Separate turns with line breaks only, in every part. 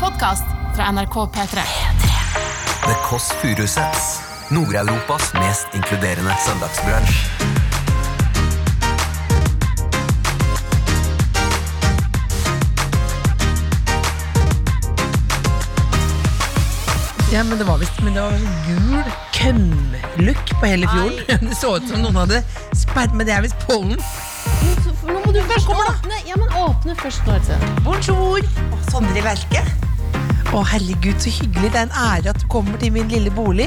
podkast fra NRK P3.
The Kåss Furuseths. Nord-Europas mest inkluderende søndagsbransj.
Ja, men det var visst men det var sånn gul kømlook på hele fjorden. Det så ut som noen hadde sperret, men det er visst pollen.
Nå må du først åpne. Ja, men åpne først nå.
Bonjour! Å, Sondre Lerche. Å, herregud, så hyggelig. Det er en ære at du kommer til min lille bolig.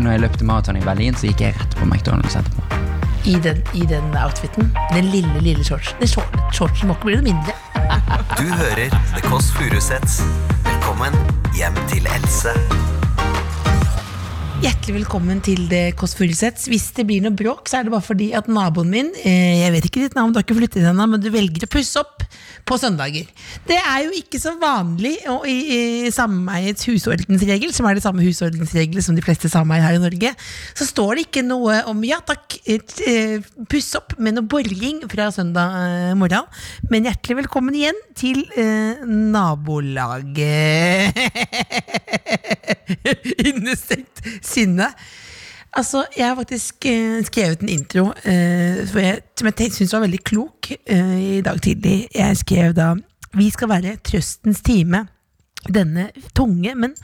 Når jeg løpte maraton i Berlin, så gikk jeg rett på McDonald's etterpå.
I den, i den outfiten. Den lille, lille shortsen. Den short, shortsen må ikke bli noe mindre.
Du hører The Kåss Furuseths. Velkommen hjem til Else.
Hjertelig velkommen til det Kåss Furuseths. Hvis det blir noe bråk, så er det bare fordi at naboen min eh, Jeg vet ikke ditt navn, du har ikke flyttet inn ennå, men du velger å pusse opp på søndager. Det er jo ikke så vanlig og i, i sameiets husordensregel, som er det samme husordensregel som de fleste sameier her i Norge, så står det ikke noe om ja takk, et, eh, puss opp med noe borging fra søndag eh, morgen. Men hjertelig velkommen igjen til eh, nabolaget. innestengt sinne. Altså, Jeg har faktisk eh, skrevet en intro eh, for jeg, som jeg syns var veldig klok eh, i dag tidlig. Jeg skrev da Vi skal være trøstens time. Denne tunge, men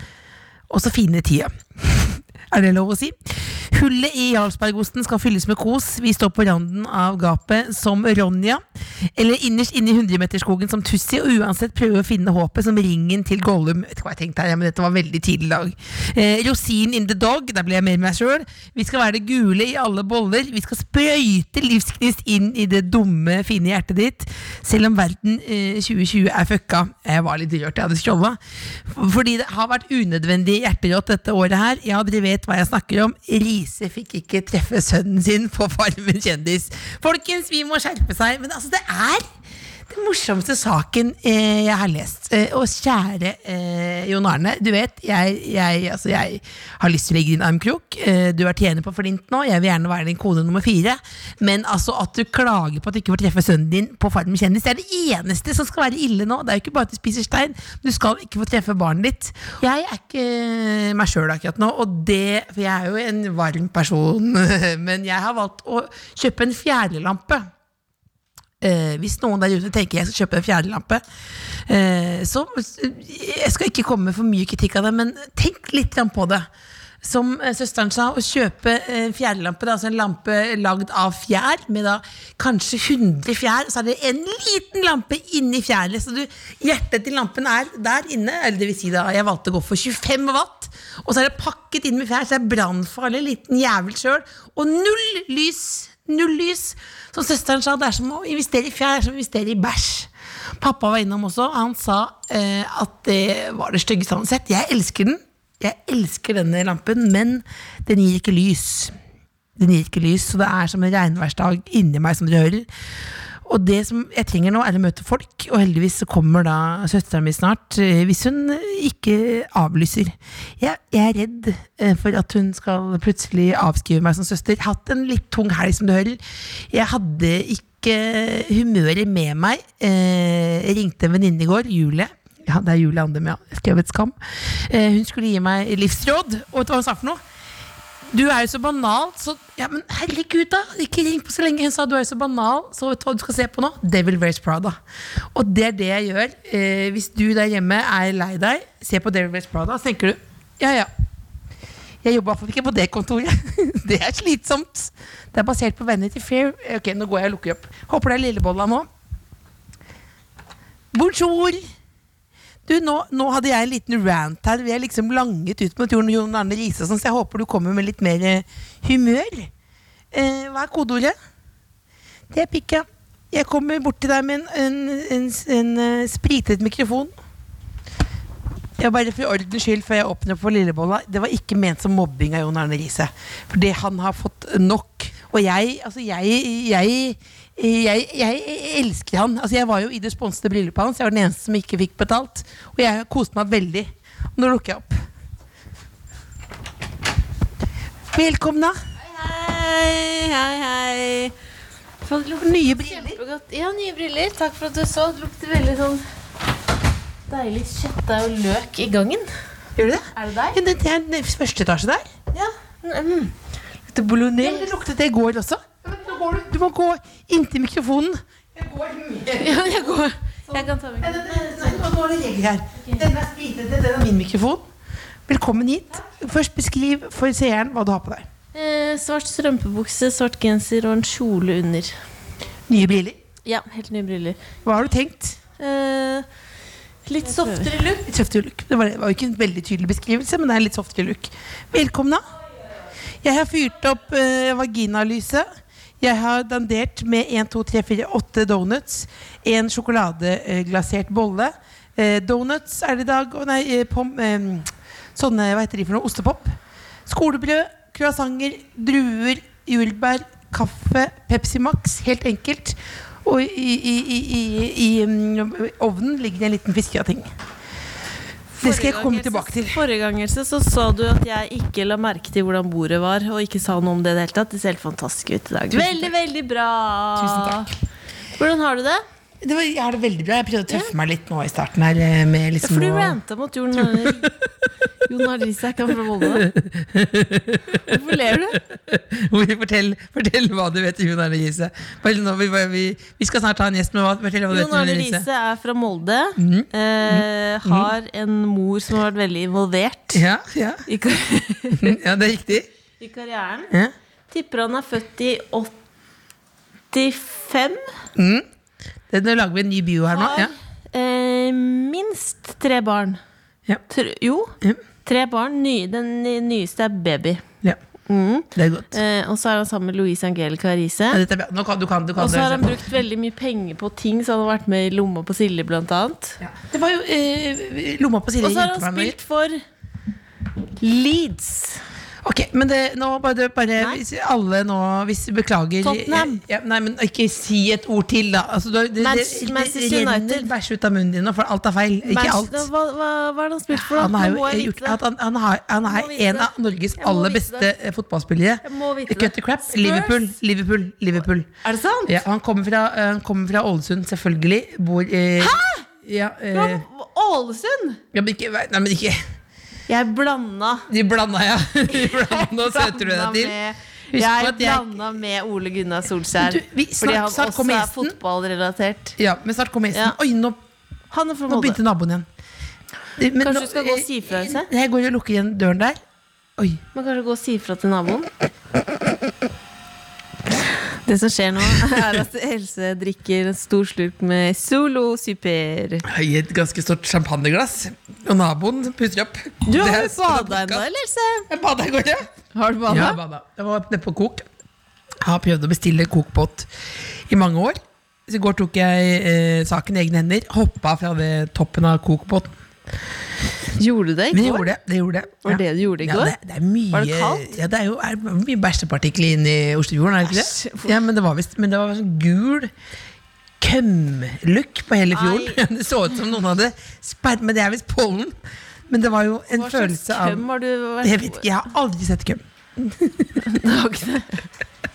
også fine tida. Er det lov å si? Hullet i Jarlsbergosten skal fylles med kos. Vi står på randen av gapet som Ronja. Eller innerst inne i 100-meterskogen som Tussi, og uansett prøve å finne håpet som ringen til Gollum. Vet ikke hva jeg tenkte her, men dette var veldig tidlig i dag. Eh, Rosin in the dog, der ble jeg mer meg sjøl. Vi skal være det gule i alle boller. Vi skal sprøyte livsgnist inn i det dumme, fine hjertet ditt. Selv om verden eh, 2020 er fucka. Jeg var litt rørt, jeg hadde scrolla. Fordi det har vært unødvendig hjerterått dette året her. Ja, dere vet hva jeg snakker om. Riise fikk ikke treffe sønnen sin på Farmen kjendis. Folkens, vi må skjerpe seg. Men altså, det er den morsomste saken eh, jeg har lest. Eh, og kjære eh, Jon Arne, du vet, jeg, jeg, altså, jeg har lyst til å legge din armkrok. Eh, du er tjener på Flint nå, jeg vil gjerne være din kone nummer fire. Men altså at du klager på at du ikke får treffe sønnen din på Farmen kjendis, det er det eneste som skal være ille nå. Det er jo ikke bare at du spiser stein, du skal ikke få treffe barnet ditt. Jeg er ikke eh, meg sjøl akkurat nå, og det, for jeg er jo en varm person, men jeg har valgt å kjøpe en fjærlampe. Eh, hvis noen der ute tenker jeg skal kjøpe en fjærlampe, eh, så jeg skal ikke komme med for mye kritikk av det, men tenk litt grann på det. Som eh, søsteren sa, å kjøpe eh, fjærlampe, da, altså en lampe lagd av fjær, med da kanskje 100 fjær, så er det en liten lampe inni fjæret. Så du, hjertet til lampen er der inne, eller det vil si da, jeg valgte å gå for 25 watt, og så er det pakket inn med fjær, så det er brannfarlig, liten jævel sjøl, og null lys. Null lys. Som søsteren sa, det er som å investere i fjær, det er som å investere i bæsj. Pappa var innom også. Han sa eh, at det var det styggeste han hadde sett. Jeg elsker den. Jeg elsker denne lampen, men den gir ikke lys. Den gir ikke lys, så det er som en regnværsdag inni meg, som dere hører. Og det som jeg trenger nå, er å møte folk, og heldigvis så kommer da søsteren min snart, eh, hvis hun ikke avlyser. Jeg, jeg er redd eh, for at hun skal plutselig avskrive meg som søster. Hatt en litt tung helg, som du hører. Jeg hadde ikke humøret med meg. Eh, Jeg ringte en venninne i går, Julie. Ja, det er Julie Andem, ja. Skrevet Skam. Eh, Hun skulle gi meg livsråd, og vet du hva hun sa for noe? Du er jo så banal, så Ja, men herregud, da! Ikke ring på så lenge. Hun sa du er jo så banal, så vet du hva du skal se på nå? Devil Wears Prada. Og det er det jeg gjør. Eh, hvis du der hjemme er lei deg, se på Devil Wears Prada, så tenker du ja, ja. Jeg jobber i hvert fall ikke på det kontoret. Det er slitsomt. Det er basert på Vanity Fair. Ok, nå går jeg og lukker opp. Håper det er lillebolla nå. Bonjour! Du, nå, nå hadde jeg en liten rant her. Vi er liksom langet ut mot jorden, Jon Arne Riise, og sånn, så jeg håper du kommer med litt mer eh, humør. Eh, hva er kodeordet? Det er pikka. Jeg kommer bort til deg med en, en, en, en eh, spritet mikrofon. Ja, bare for ordens skyld, før jeg åpner for lillebolla. Det var ikke ment som mobbing av Jon Arne Riise. Fordi han har fått nok. Og jeg, altså jeg, jeg jeg, jeg elsker han. Altså jeg var jo i det sponsede bryllupet hans. Jeg var den eneste som ikke fikk betalt. Og jeg koste meg veldig. Og nå lukker jeg opp. Velkomna.
Hei, hei, hei. Faen, det lukter
Nye briller.
kjempegodt. Ja, nye briller. Takk for at du så. Det lukter veldig sånn deilig kjøttdeig og løk i gangen.
Gjør du det?
Er det deg?
Ja, det, det er den første etasje der.
Ja. Mm.
Lukter bolognese. Ja, men det luktet det i går også. Du må gå inntil mikrofonen.
ja jeg går. Jeg kan ta meg.
Denne er hvite, dette er min mikrofon. Velkommen hit. Først beskriv for seeren hva du har på deg.
Eh, svart strømpebukse, svart genser og en kjole under.
Nye briller.
Ja, helt nye briller.
Hva har du tenkt?
Eh, litt softere look.
Litt softy look. Det var, det var jo ikke en veldig tydelig beskrivelse, men det er en litt softy look. Velkommen, da. Jeg har fyrt opp eh, vaginalyset. Jeg har dandert med 1, 2, 3, 4, 8 donuts. En sjokoladeglasert bolle. Eh, donuts er det i dag. Og nei, eh, pom, eh, sånne, hva heter de for noe? Ostepop. Skolebrød, croissanter, druer, jordbær, kaffe, Pepsi Max. Helt enkelt. Og i, i, i, i, i mm, ovnen ligger det en liten fisketing. Det skal jeg komme tilbake til.
Forrige gang Else, så sa du at jeg ikke la merke til hvordan bordet var, og ikke sa noe om det i det hele tatt. Det ser helt fantastisk ut i dag. Veldig, veldig bra.
Tusen takk.
Hvordan har du det?
Det var, jeg har det veldig bra. Jeg prøvde å tøffe meg litt nå i starten her. eh, Med liksom
For du
å-
ranta mot Jon Jon Arne Risak fra Volda. Hvorfor ler du?
Hvor vi fortell, fortell hva du vet om Jon Arne Riise. Bare nå, Vi, bare- vi, vi skal snart ha en gjest, men hva, fortell hva du vet
Jon
om Jon
Arne
Arne Riise. Mhm.
Riise er fra Molde. Eh, har en mor som har vært veldig involvert
Ja, ja.
i, kar
ja, det er riktig.
i karrieren.
Ja.
Tipper han er født i 85.
Det, nå lager vi en ny bio her nå.
Har
Ja.
eh, minst tre barn.
Ja.
Tr jo,
Ja.
tre barn. Ny, den ny- nyeste er baby.
Ja. Mm, Det er godt.
Eh, og så er han sammen med Louise Angelica Riise.
Ja, dette er bra. Nå kan du kan, du kan
Og så
det,
har han
altså.
brukt veldig mye penger på ting, så han har vært med i Lomma på Silje, blant annet.
ja. Det var jo eh, lomma på Silje.
Og så har
hjelper
han
meg med.
spilt for Leeds.
Ok, men det, nå bare, bare
Nei.
hvis alle nå hvis, Beklager.
Tottenham.
Ja, nei, men ikke si et ord til, da. Altså, du, det,
Manchester- Manchester United.
Bæsj ut av munnen din nå, for alt er feil. Ikke alt.
Manchester- Hva, hva, hva er det han har spilt for, da?
Han er
Nå
jo
må jeg
gjort
vite det.
at han, han, har, han
Jeg må
er
vite
en av
det.
Norges
Jeg må
aller
vite
beste
det.
eh, fotballspillere.
Jeg må vite
Cut
det.
the crap.
Spurs.
Liverpool, Liverpool, Liverpool.
Er det sant?
Ja, han, kommer fra, eh, han kommer fra Ålesund, selvfølgelig. Bor eh, Hæ?! Ja, eh,
Fra Ålesund!
ja, men ikke, nei, men ikke
Jeg blanda.
De blanda, ja. De blanda søter du
blanda
deg til.
med-
Husk på
Jeg
at jeg-
blanda med Ole Gunnar Solskjær.
Du, vi- snart-
fordi han
snart
også
kommer
er
gjesten.
fotballrelatert.
Ja, men snart kommer gjesten.
Ja.
Oi, nå,
Han er fra
nå
Molde.
begynte naboen igjen. Eh, men
Kanskje
nå-
du skal gå og si fra, Else?
eh, Jeg går og lukker igjen døren der. Oi.
Man kanskje gå og si ifra til naboen? Det som skjer nå, er at Else drikker en stor slurk med Solo Super.
I et ganske stort champagneglass. Og naboen puster opp.
Du har
Det er-
jo bada ennå, eller, Else?
Jeg bada i går, ja.
Har du
Ja,
bada?
jeg bada. Jeg var nede på kok. Jeg har prøvd å bestille kokbåt i mange år. Så i går tok jeg eh, saken i egne hender. Hoppa fra det toppen av kokbåten.
Gjorde du det i
Men jeg
går?
gjorde det. det, gjorde det.
Var det det du gjorde i går?
Ja, det, det er mye,
Var det kaldt?
Ja, det er jo er, mye bæsjepartikler inne i Oslofjorden, er
Æsj,
det ikke det?
hvor-
Ja, men det var visst Men det var sånn gul kømlook på hele fjorden. Det så ut som noen hadde sperret Men det er visst pollen. Men det var jo en
Hva slags
følelse av
køm har du vært
Jeg vet ikke, jeg har aldri sett køm.
Du har ikke det?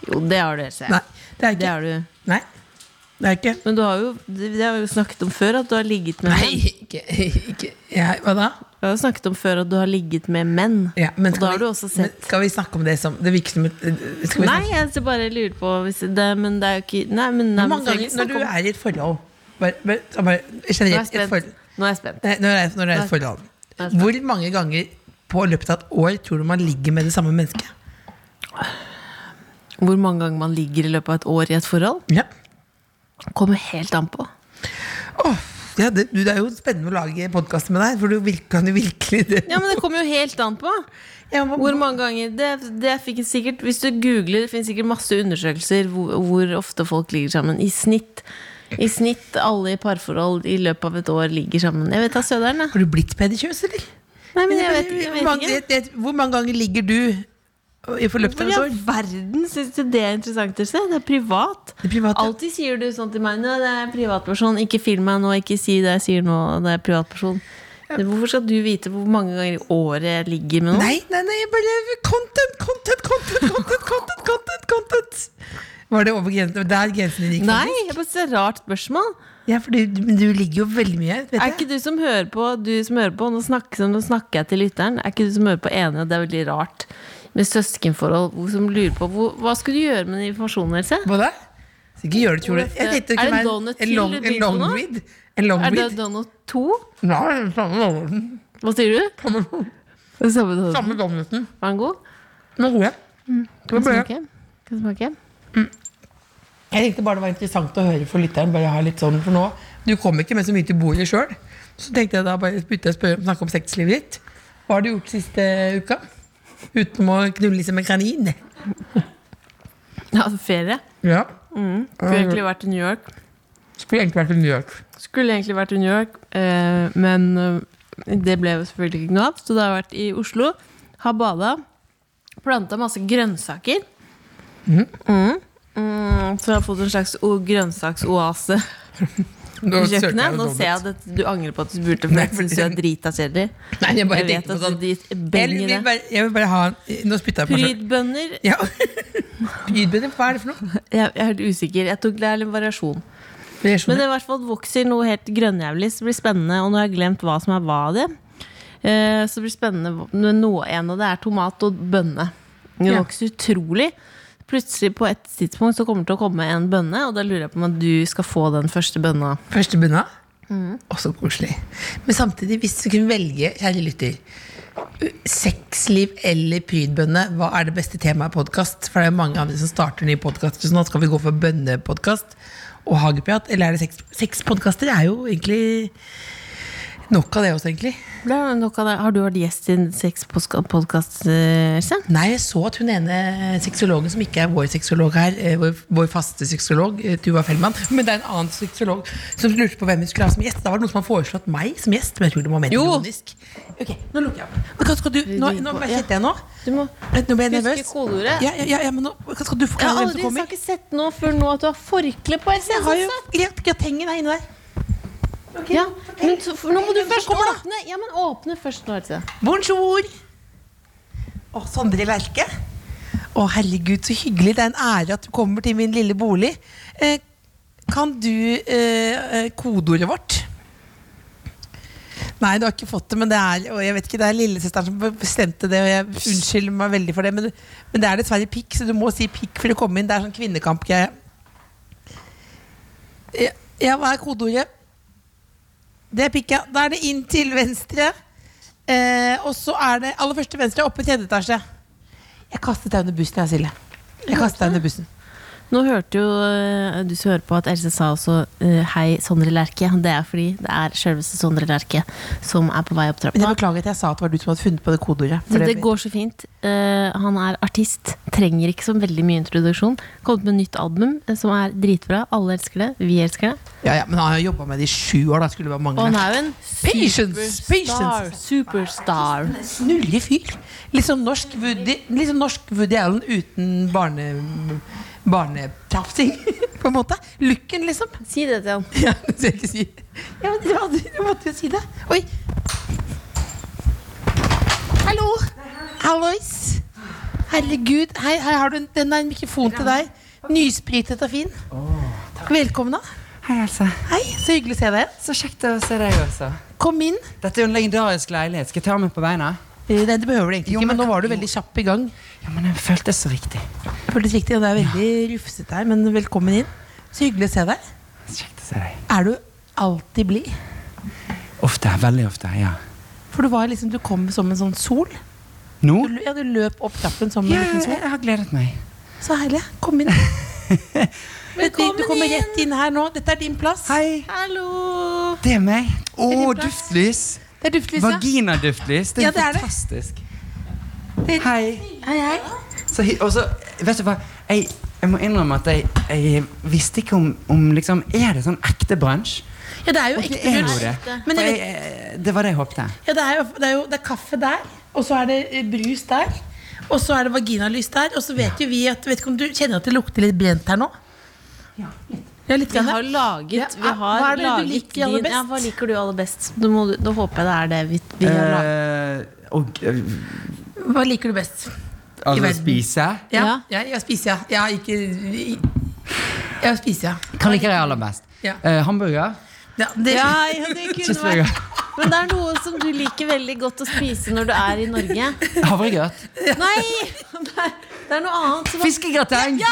Jo, det har du, Else.
Nei, det er
Det
ikke.
har du.
Nei, det er ikke.
Men du har jo, det det har vi jo snakket om før, at du har ligget med
Nei,
menn.
ikke, ikke jeg, Hva da?
Vi har jo snakket om før at du har ligget med menn.
Ja, men
Og
skal
da har
vi-
du også
men
sett-
Skal vi snakke om det som Det virker som et skal vi
Nei,
snakke-
jeg bare lurer på hvis det, Men det er jo ikke Nei, men nei,
Hvor
men
mange
vi trenger
ganger
ikke
når
snakke
du
om-
er i et forhold bare, bare, så bare,
Nå er jeg
Generelt et forhold
spent. Nå er jeg spent.
Nei, Når det er, når det er et
Nei.
forhold
Nei.
Hvor mange ganger på løpet av et år tror du man ligger med det samme mennesket?
Hvor mange ganger man ligger i løpet av et år i et forhold,
Ja,
kommer helt an på.
Åh, ja det, du, det er jo spennende å lage podkast med deg, for du virker, kan jo virkelig det.
Ja, men Det kommer jo helt an på.
Ja, men-
Hvor mange ganger Det, det fikk jeg sikkert Hvis du googler, det finnes sikkert masse undersøkelser hvor, hvor ofte folk ligger sammen. I snitt. I snitt alle i parforhold i løpet av et år ligger sammen. Jeg vet da søderen, jeg.
har du blitt pedikjøs, eller?
Nei, men jeg vet, jeg vet ikke.
Mange- jeg- Hvor mange ganger ligger du øh, i forløpet av
Hvor i
et år?
all verden syns du det er interessant? Else? Det er privat.
Det private.
Alltid sier du sånn til meg Nå, det er privatperson. Ikke film meg nå, ikke si det jeg sier nå. Det er privatperson. Men Hvorfor skal du vite hvor mange ganger i året jeg ligger med noen?
Nei, nei, nei, jeg bare Content, content, content, content, content, content, content. Var det over grensen? Det var Der grensen din gikk.
Nei, det er bare så rart spørsmål.
faktisk. Ja, for du, men du ligger jo veldig mye, vet
Er
jeg.
ikke du som hører på, du som hører på nå, snakker, nå snakker jeg til lytteren. Er ikke du som hører på enig, og det er veldig rart med søskenforhold, hvor som lurer på hvor, Hva skulle du gjøre med den informasjonen, Else?
Hva da? Så ikke gjør det til
Hvorfor-
Jeg tenkte det
Er det
kunne
en
være
donut
en
til
long,
du
en
begynner på
long
nå?
read. En long
Er det
read.
Donald 2?
Ja, den samme donuten.
Hva sier du? Det samme Donald.
Samme donuten.
Var den god?
Nå tror jeg.
Kan
Det ble-
smake? Kan smake?
Jeg tenkte bare det var interessant å høre for lytteren. Bare ha litt sånn for nå Du kom ikke med så mye til bordet sjøl. Så tenkte jeg da bare begynte jeg å spørre, snakke om sexlivet ditt. Hva har du gjort siste uka? Utenom å knulle som en kanin?
Jeg hadde altså, ferie.
Ja.
Skulle egentlig vært i New York.
Skulle egentlig vært i New York.
Skulle egentlig vært i New York, eh, men eh, det ble jo selvfølgelig ikke noe av. Så da har jeg vært i Oslo, har bada, planta masse grønnsaker.
Mhm.
Mm. Mm, så jeg har fått en slags o- grønnsaksoase
Nå
på
søker jeg
kjøkkenet.
en
Nå
donut.
ser jeg at du angrer på at du spurte, for
Nei,
jeg syns du er drita kjedelig.
Nei, jeg bare
Jeg vet
tenkte på
at
sånn
du gir beng
jeg
i
vil
det.
bare, jeg vil bare ha Nå spytta jeg på meg sjøl.
Prydbønner
Ja. Prydbønner, hva er det for noe?
jeg, jeg er helt usikker. Jeg tok det er en variasjon.
Det er sånn-
Men det i hvert fall vokser noe helt grønnjævlig, så det blir spennende. Og nå har jeg glemt hva som er hva av det. Eh, Så det blir spennende hva- med noe en, og det er tomat og bønne. Det
Ja.
vokser utrolig. Plutselig på et tidspunkt så kommer det til å komme en bønne, og da lurer jeg på om at du skal få den første bønna.
eh, Første bunad. Også koselig. Men samtidig, hvis du kunne velge, kjære lytter Sexliv eller prydbønne, hva er det beste temaet i podkast? For det er jo mange andre som starter nye podkaster. Sånn at skal vi gå for bønnepodkast og hageprat? Eller er det sex? Sexpodkaster er jo egentlig nok av det også, egentlig.
Det er nok av det. Har du vært gjest i en sexpodkast, Else?
Nei, jeg så at hun ene eh, sexologen som ikke er vår sexolog her, eh, vår, vår faste sexolog, eh, Tuva Fellmann, men det er en annen sexolog som lurte på hvem hun skulle ha som gjest. Da var det noen som har foreslått meg som gjest, men jeg tror det var mer
Jo.
ironisk. Ok, nå lukker jeg opp. Men hva skal du, nå, nå bare kjente jeg nå.
Du må
Nå ble jeg
huske
nervøs.
kodeordet.
Ja, ja, ja, ja, men nå, hva skal du
Jeg har
forklare hvem
aldri
som
jeg har
kommer?
ikke sett noe før nå at du har forkle på, Else.
Jeg har jo greit, gratengen er inne der.
Ja, men så, for, nå må du
Hvem som
først
kommer, da?
åpne. Ja, men åpne først nå, Else.
Bonjour! Å, Sondre Lerche. Å, herregud, så hyggelig. Det er en ære at du kommer til min lille bolig. Eh, kan du eh, eh, kodeordet vårt? Nei, du har ikke fått det, men det er og jeg vet ikke, det er lillesøsteren som bestemte det. Og jeg unnskylder meg veldig for det, men, men det er dessverre pikk, så du må si pikk for å komme inn. Det er sånn kvinnekampgreie. Ja, ja, hva er kodeordet? Det er pikk, ja. Da er det inn til venstre. Eh, og så er det aller første venstre oppe i tredje etasje. Jeg kastet deg under bussen, jeg, Silje. Jeg kastet deg under bussen.
Nå hørte jo eh, du som hører på at Else sa også eh, hei, Sondre Lerche. Det er fordi det er selveste Sondre Lerche som er på vei opp
Men jeg
trappa.
beklager at jeg sa at det var du som hadde funnet på det kodeordet. For
Det, det går så fint. Eh, han er artist. Trenger ikke så veldig mye introduksjon. Kommet med nytt album eh, som er dritbra. Alle elsker det. Vi elsker det.
Ja, ja, men han har jobba med det i sju år. Da skulle det bare
Og han
mangle.
er jo en
Patience,
superstar.
patience.
Superstar.
Snullig fyr. Liksom norsk Woody, liksom norsk Woody Allen uten barne... Barnetrafsing, på en måte. Looken, liksom.
Si det til han.
Ja, det skal jeg ikke si. Ja, men jeg, hadde, jeg måtte jo si det. Oi. Hallo. Hallois. Herregud. Hei, her har du en, den er en mikrofon til deg. Nyspritet og fin. Velkommen, da.
Hei, Else.
Hei, så hyggelig å se deg.
Så kjekt å se deg også.
Kom inn.
Dette er jo en legendarisk leilighet. Skal jeg ta meg på beina?
Eh, Nei, det behøver du egentlig
Jo,
ikke,
men
men nå
kan-
var du
jo.
veldig kjapp i gang.
Ja, men det føltes så riktig.
Det føltes riktig, og det er veldig rufsete her, men velkommen inn. Så hyggelig å se deg.
Så kjekt å se deg.
Er du alltid blid?
Ofte. Veldig ofte. Ja.
For du var liksom, du kom som en sånn sol.
Nå?
Du, lø- ja, du løp opp trappen som en
Ja,
liten
jeg,
sol.
jeg har gledet meg.
Så herlig. Kom inn. Velkommen du kommer rett inn her nå. Dette er din plass.
Hei.
Hallo!
Det er meg. Å,
din plass?
duftlys.
Det er duftlys, ja.
Vagina-duftlys. Det
Ja,
er
det er det.
fantastisk.
Det-
Hei.
Hei, hei.
Så, hy- og så, vet du hva? Jeg, jeg må innrømme at jeg, jeg visste ikke om, om liksom, Er det sånn ekte bransje?
Ja, det er jo
Det
ekte
er jo
brunch.
det.
Men
For
jeg
jeg, eh, det var det jeg håpte.
Ja, det er jo det er, jo, det er kaffe der, og så er det eh, brus der. Og så er det vaginalys der. Og så vet jo vi at Vet ikke om du kjenner at det lukter litt brent her nå? Ja, litt.
Vi
grann,
har
ja.
laget, vi
Ja,
har
hva er det du
laget
liker aller
din- Ja,
best?
hva liker du aller best? Nå, må, du- nå håper jeg det er det vi, vi har laget.
Eh, og eh,
Hva liker du best? I
altså
verden.
spise?
Ja,
Ja.
ja. jeg spiser, ja. Ja, ikke i- Ja, spiser, ja.
Hva liker jeg aller best?
Ja.
eh, hamburger.
Ja, det,
Ja, ja, det kunne vært
Cheeseburger.
Men det er noe som du liker veldig godt å spise når du er i Norge.
Havregrøt.
Nei! Det er, det er noe annet som
Fiskegrateng!
Ja!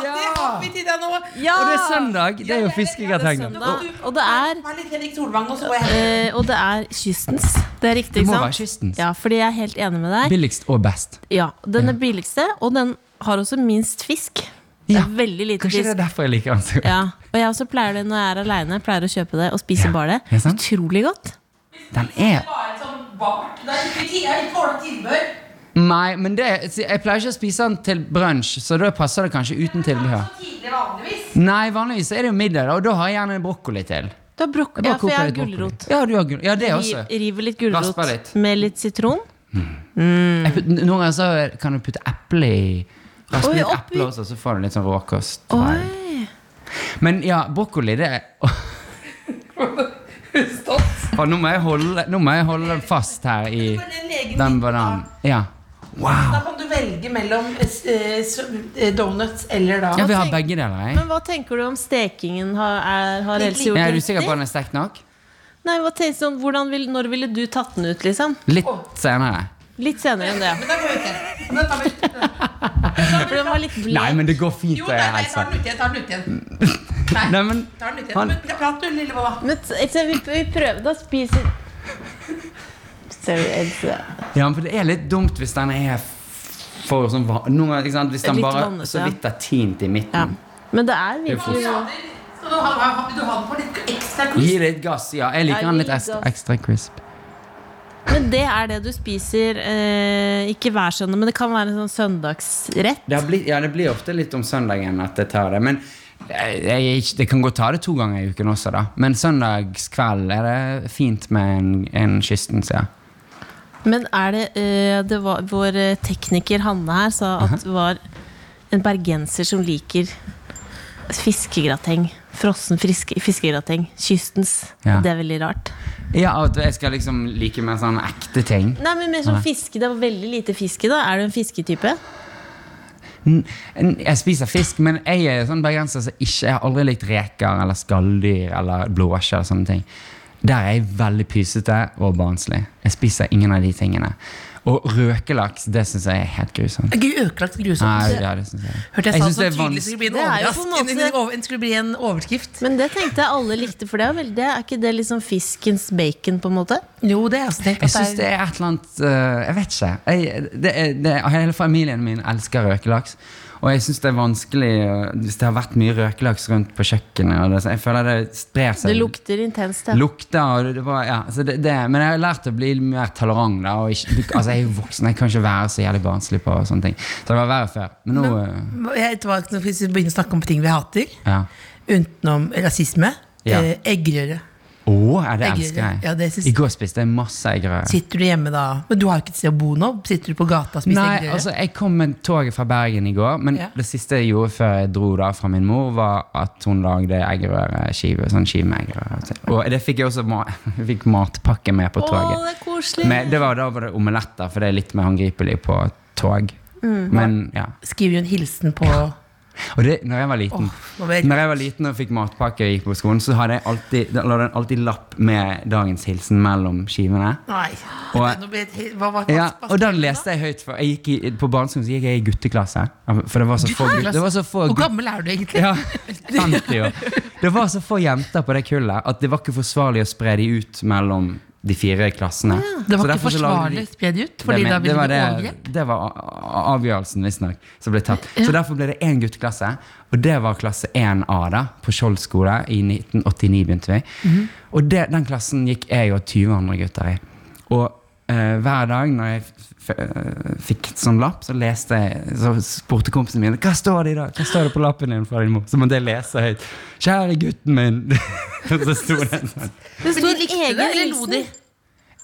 det har vi tid til nå!
ja!
Og det er søndag. Det er jo
Det
fiskegrateng.
er søndag, Og det er,
Vær litt Henrik Solvang, og så går jeg
eh, og det er kystens. Det er riktig,
Det må
ikke sant?
være kystens.
Ja, fordi jeg er helt enig med deg.
Billigst og best.
Ja, Den er billigste, og den har også minst fisk. Det
Ja,
er veldig lite
Kanskje det
fisk.
er derfor jeg liker den så godt.
Ja, og jeg også pleier det når jeg er alene Pleier å kjøpe det og spise
Ja,
bare
det er
det
sant.
Utrolig godt
Den er
bare et sånt bart. Det er ikke, jeg ikke tåler tilbør.
Nei, men det, jeg pleier ikke å spise den til brunsj, så da passer det kanskje uten tilbehør.
Tidligere vanligvis.
Nei, vanligvis er det jo middag, da, og da har jeg gjerne brokkoli til.
Du har brokk,
Jeg bare
ja, for jeg
koker
har
litt brokkoli.
gulrot
Ja, du har gul ja, det også.
Riv- River litt gulrot
Rasper litt.
med litt sitron
Jeg putt- Noen ganger så kan du putte eple i. Raspe
Oi,
litt
oppi.
eple også, så får du litt sånn råkost.
Oi,
Men ja, brokkoli, det er Å, nå, må jeg holde, nå må jeg holde den fast her i den bananen. Ja.
Da
Wow.
kan du velge mellom eh, s- eh, s- eh, donuts eller da
Ja, vi har begge deler, jeg.
men hva tenker du om stekingen har, er, har
Litt
Else gjort
Er du
riktig?
sikker på at den er stekt nok?
Nei, hva tenker du om, hvordan vil, når ville du tatt den ut liksom?
Litt senere.
Litt senere enn det
Men da går jeg ut igjen. Men da tar vi-
For den var litt
Nei,
blek
men det går fint.
Jo,
det,
nei, nei, jeg
Elsa.
tar den ut igjen. tar den ut igjen.
Nei, men
Tar den ut igjen.
Mm. Han-
Men Prat du, lille mamma.
Men t- Else, vi, vi prøver da spiser Ser du, Else
Ja, for det er litt dumt hvis den er for sånn va- noen ganger, ikke sant? Hvis den
Litt
bare
vannete,
så
ja.
vidt er tint i
ja.
midten.
Men det er
Det er for-
virkelig noe
Skal du ha, ha, ha, vil du ha den på litt ekstra
Gi
quiz?
litt gass. Ja, jeg liker
Ja,
den
gi
litt ekstra,
gass.
ekstra crisp.
Men det er det du spiser eh, ikke hver søndag, men det kan være en sånn søndagsrett.
Det har blitt, ja, det blir ofte litt om søndagen at jeg tar det. Men eh, jeg, jeg, er ikke- det kan godt ta det to ganger i uken også, da. Men søndagskveld er det fint med en, en kystens, ja.
Men er det, eh, det var, Vår eh, tekniker Hanne her sa at det var en bergenser som liker fiskegrateng. Frossen friske, fiskegrateng. Kystens.
Ja.
Det er veldig rart.
Ja, og at jeg skal liksom like mer sånn ekte ting.
Nei, men mer sånn fiske. Det var veldig lite fiske, da. Er du en fisketype?
N- n- Jeg spiser fisk, men jeg er sånn bergenser som ikke Jeg har aldri likt reker eller skalldyr eller blåskje eller sånne ting. Der er jeg veldig pysete og barnslig. Jeg spiser ingen av de tingene. Og røkelaks, det syns jeg er helt grusomt.
Gud, økelagt
Nei,
grusomt.
ja, det synes jeg.
sånn. Hørte jeg
Jeg
sa
synes
så
det er
tydelig
vanskelig.
skulle bli en
Det er jo på en
overraskelse.
måte-
en over- Skulle bli en overskrift.
Men det tenkte jeg alle likte, for det er, vel, det er ikke det liksom fiskens bacon, på en måte?
Jo, det er også tenkt
Jeg syns
at
det
det er
er et eller annet øh, Jeg vet ikke. Jeg, det er, det er, hele familien min elsker røkelaks. Og jeg syns det er vanskelig øh, hvis det har vært mye røkelaks rundt på kjøkkenet. Og det, så jeg føler det sprer seg.
Det lukter intenst, ja.
lukter og det, det var, ja, så det, det, Men jeg har lært å bli mer tolerant. Da, og ikke, du, altså, jeg er jo voksen, jeg kan ikke være så jævlig barnslig på sånne ting. Så det var verre før. Men nå eh,
Jeg vet hva, Når vi begynner å snakke om ting vi hater,
øh, ja.
utenom rasisme
Ja.
eh, Eggerøre.
Å, ja, det
Eggerøre.
elsker jeg.
Ja, det synes-
I går spiste jeg masse eggerøre.
Sitter du hjemme da Men du har jo ikke et sted å bo nå? Sitter du på gata og spiser
Nei,
eggerøre?
altså Jeg kom med toget fra Bergen i går, men
Ja.
det siste jeg gjorde før jeg dro da fra min mor, var at hun lagde eggerøreskive. Sånn skive med eggerøre. til. Og det fikk jeg også ma jeg fikk matpakke med på
Å,
toget.
det er koselig!
Men det var, da var det omeletter, for det er litt mer håndgripelig på tog. Men ja
Skriver jo en hilsen på
Og det, når jeg var liten
Åh, nå vet jeg-
Når jeg var liten og fikk matpakke og gikk på skolen, så hadde jeg alltid, da la den alltid lapp med dagens hilsen mellom skivene.
Nei.
Og-
Nå ble det helt- hva var hva-
Ja,
hva-
og den leste jeg høyt. For jeg gikk i, på barneskolen så gikk jeg i gutteklasse. For det var så få, gutt, det var så få
Hvor
gutt-
gammel er du egentlig?
ja, 50 år. Det var så få jenter på det kullet at det var ikke forsvarlig å spre de ut mellom de fire klassene.
Det
Så
var ikke
derfor så lagde
forsvarlig
de-
å spre det ut? Fordi da
det, men- det,
ville
var
du
det,
overgrep?
det var a- a- avgjørelsen, visstnok, som ble tatt. Så derfor ble det én gutteklasse, og det var klasse 1A da, på Skjold skole. I 1989 begynte vi.
Mhm.
Og det, den klassen gikk jeg og 20 andre gutter i. Og eh, hver dag når jeg f eh, fikk et sånn lapp, så leste jeg, så spurte kompisen min hva står det i dag? Hva står det på lappen din fra din mor. Så måtte jeg lese høyt. Kjære gutten min. så sto det en sånn.
det
Men de
står
likte
egen
det, eller lo
hilsen.
de?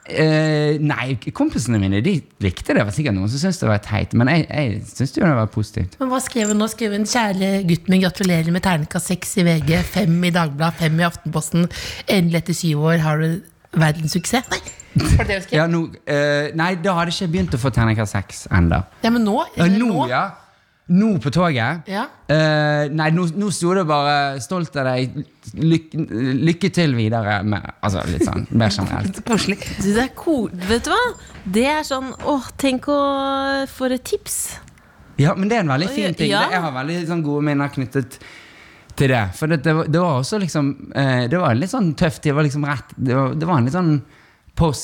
Eh, nei, kompisene mine de likte det. Det var sikkert noen som syntes det var teit, men jeg, jeg syntes jo det var positivt.
Men hva skrev hun nå? Skrev hun 'Kjære gutten min, gratulerer med terningkast seks i VG, fem i Dagbladet, fem i Aftenposten. Endelig etter syv år har du verdens suksess'. Nei, var det det hun skrev?
Ja, nå, eh, nei, da hadde jeg ikke begynt å få terningkast seks ennå.
Ja, men nå?
Ja, nå, ja. Nå på toget
Ja.
Eh, Nei, nå, nå sto det bare 'stolt av deg', lykke, 'lykke til videre' med Altså litt sånn mer generelt.
Koselig.
Du, det er ko Vet du hva? Det er sånn åh, tenk å For et tips!
Ja, men det er en veldig fin ting.
Ja.
Det- Jeg har veldig sånn, gode minner knyttet til det. For det, det, var, det var også liksom eh, Det var en litt sånn tøff tid. Det var liksom rett Det var, det var en litt sånn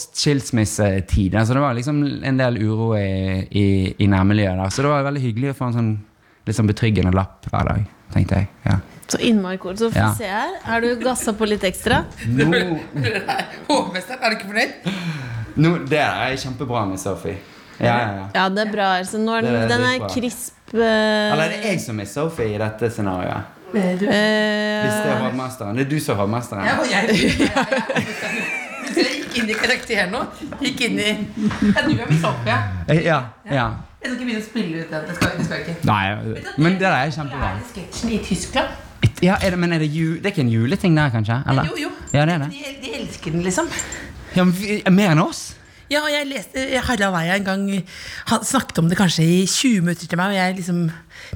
post-skilsmissetid. Altså det var liksom en del uro i, i, i nærmiljøet der. Så det var veldig hyggelig å få en sånn litt sånn betryggende lapp hver dag, tenkte jeg. Ja.
Så innmari cool. Så
Ja.
få se her. Har du gassa på litt ekstra?
Nå,
Hovmesteren, er du ikke fornøyd?
nå, det er kjempebra med Sophie. Ja, ja, ja.
Ja, det er bra. Så nå er den,
Det er
den
litt
er
bra.
krisp eh,
Eller er det jeg som er Sophie i dette scenarioet? Hvis det
Eh.
er hovmesteren. Det er du som er hovmesteren.
Ja, og jeg, jeg, jeg, jeg, jeg gikk inn i karakteren nå. Gikk inn i Ja, du er misopp, ja.
Ja, ja.
Jeg skal ikke begynne å spille ut den. Det skal, det skal jeg ikke.
Nei, men det der er
Det
kjempebra.
er sketsjen i Tyskland.
Ja, er det, men er det, ju, det er ikke en juleting der, kanskje? Eller?
Jo, jo.
Ja, det er det.
De, de elsker den, liksom.
Ja, men vi- mer enn oss?
Ja, og jeg leste Harald Eia en gang han snakket om det kanskje i 20 minutter til meg, og jeg liksom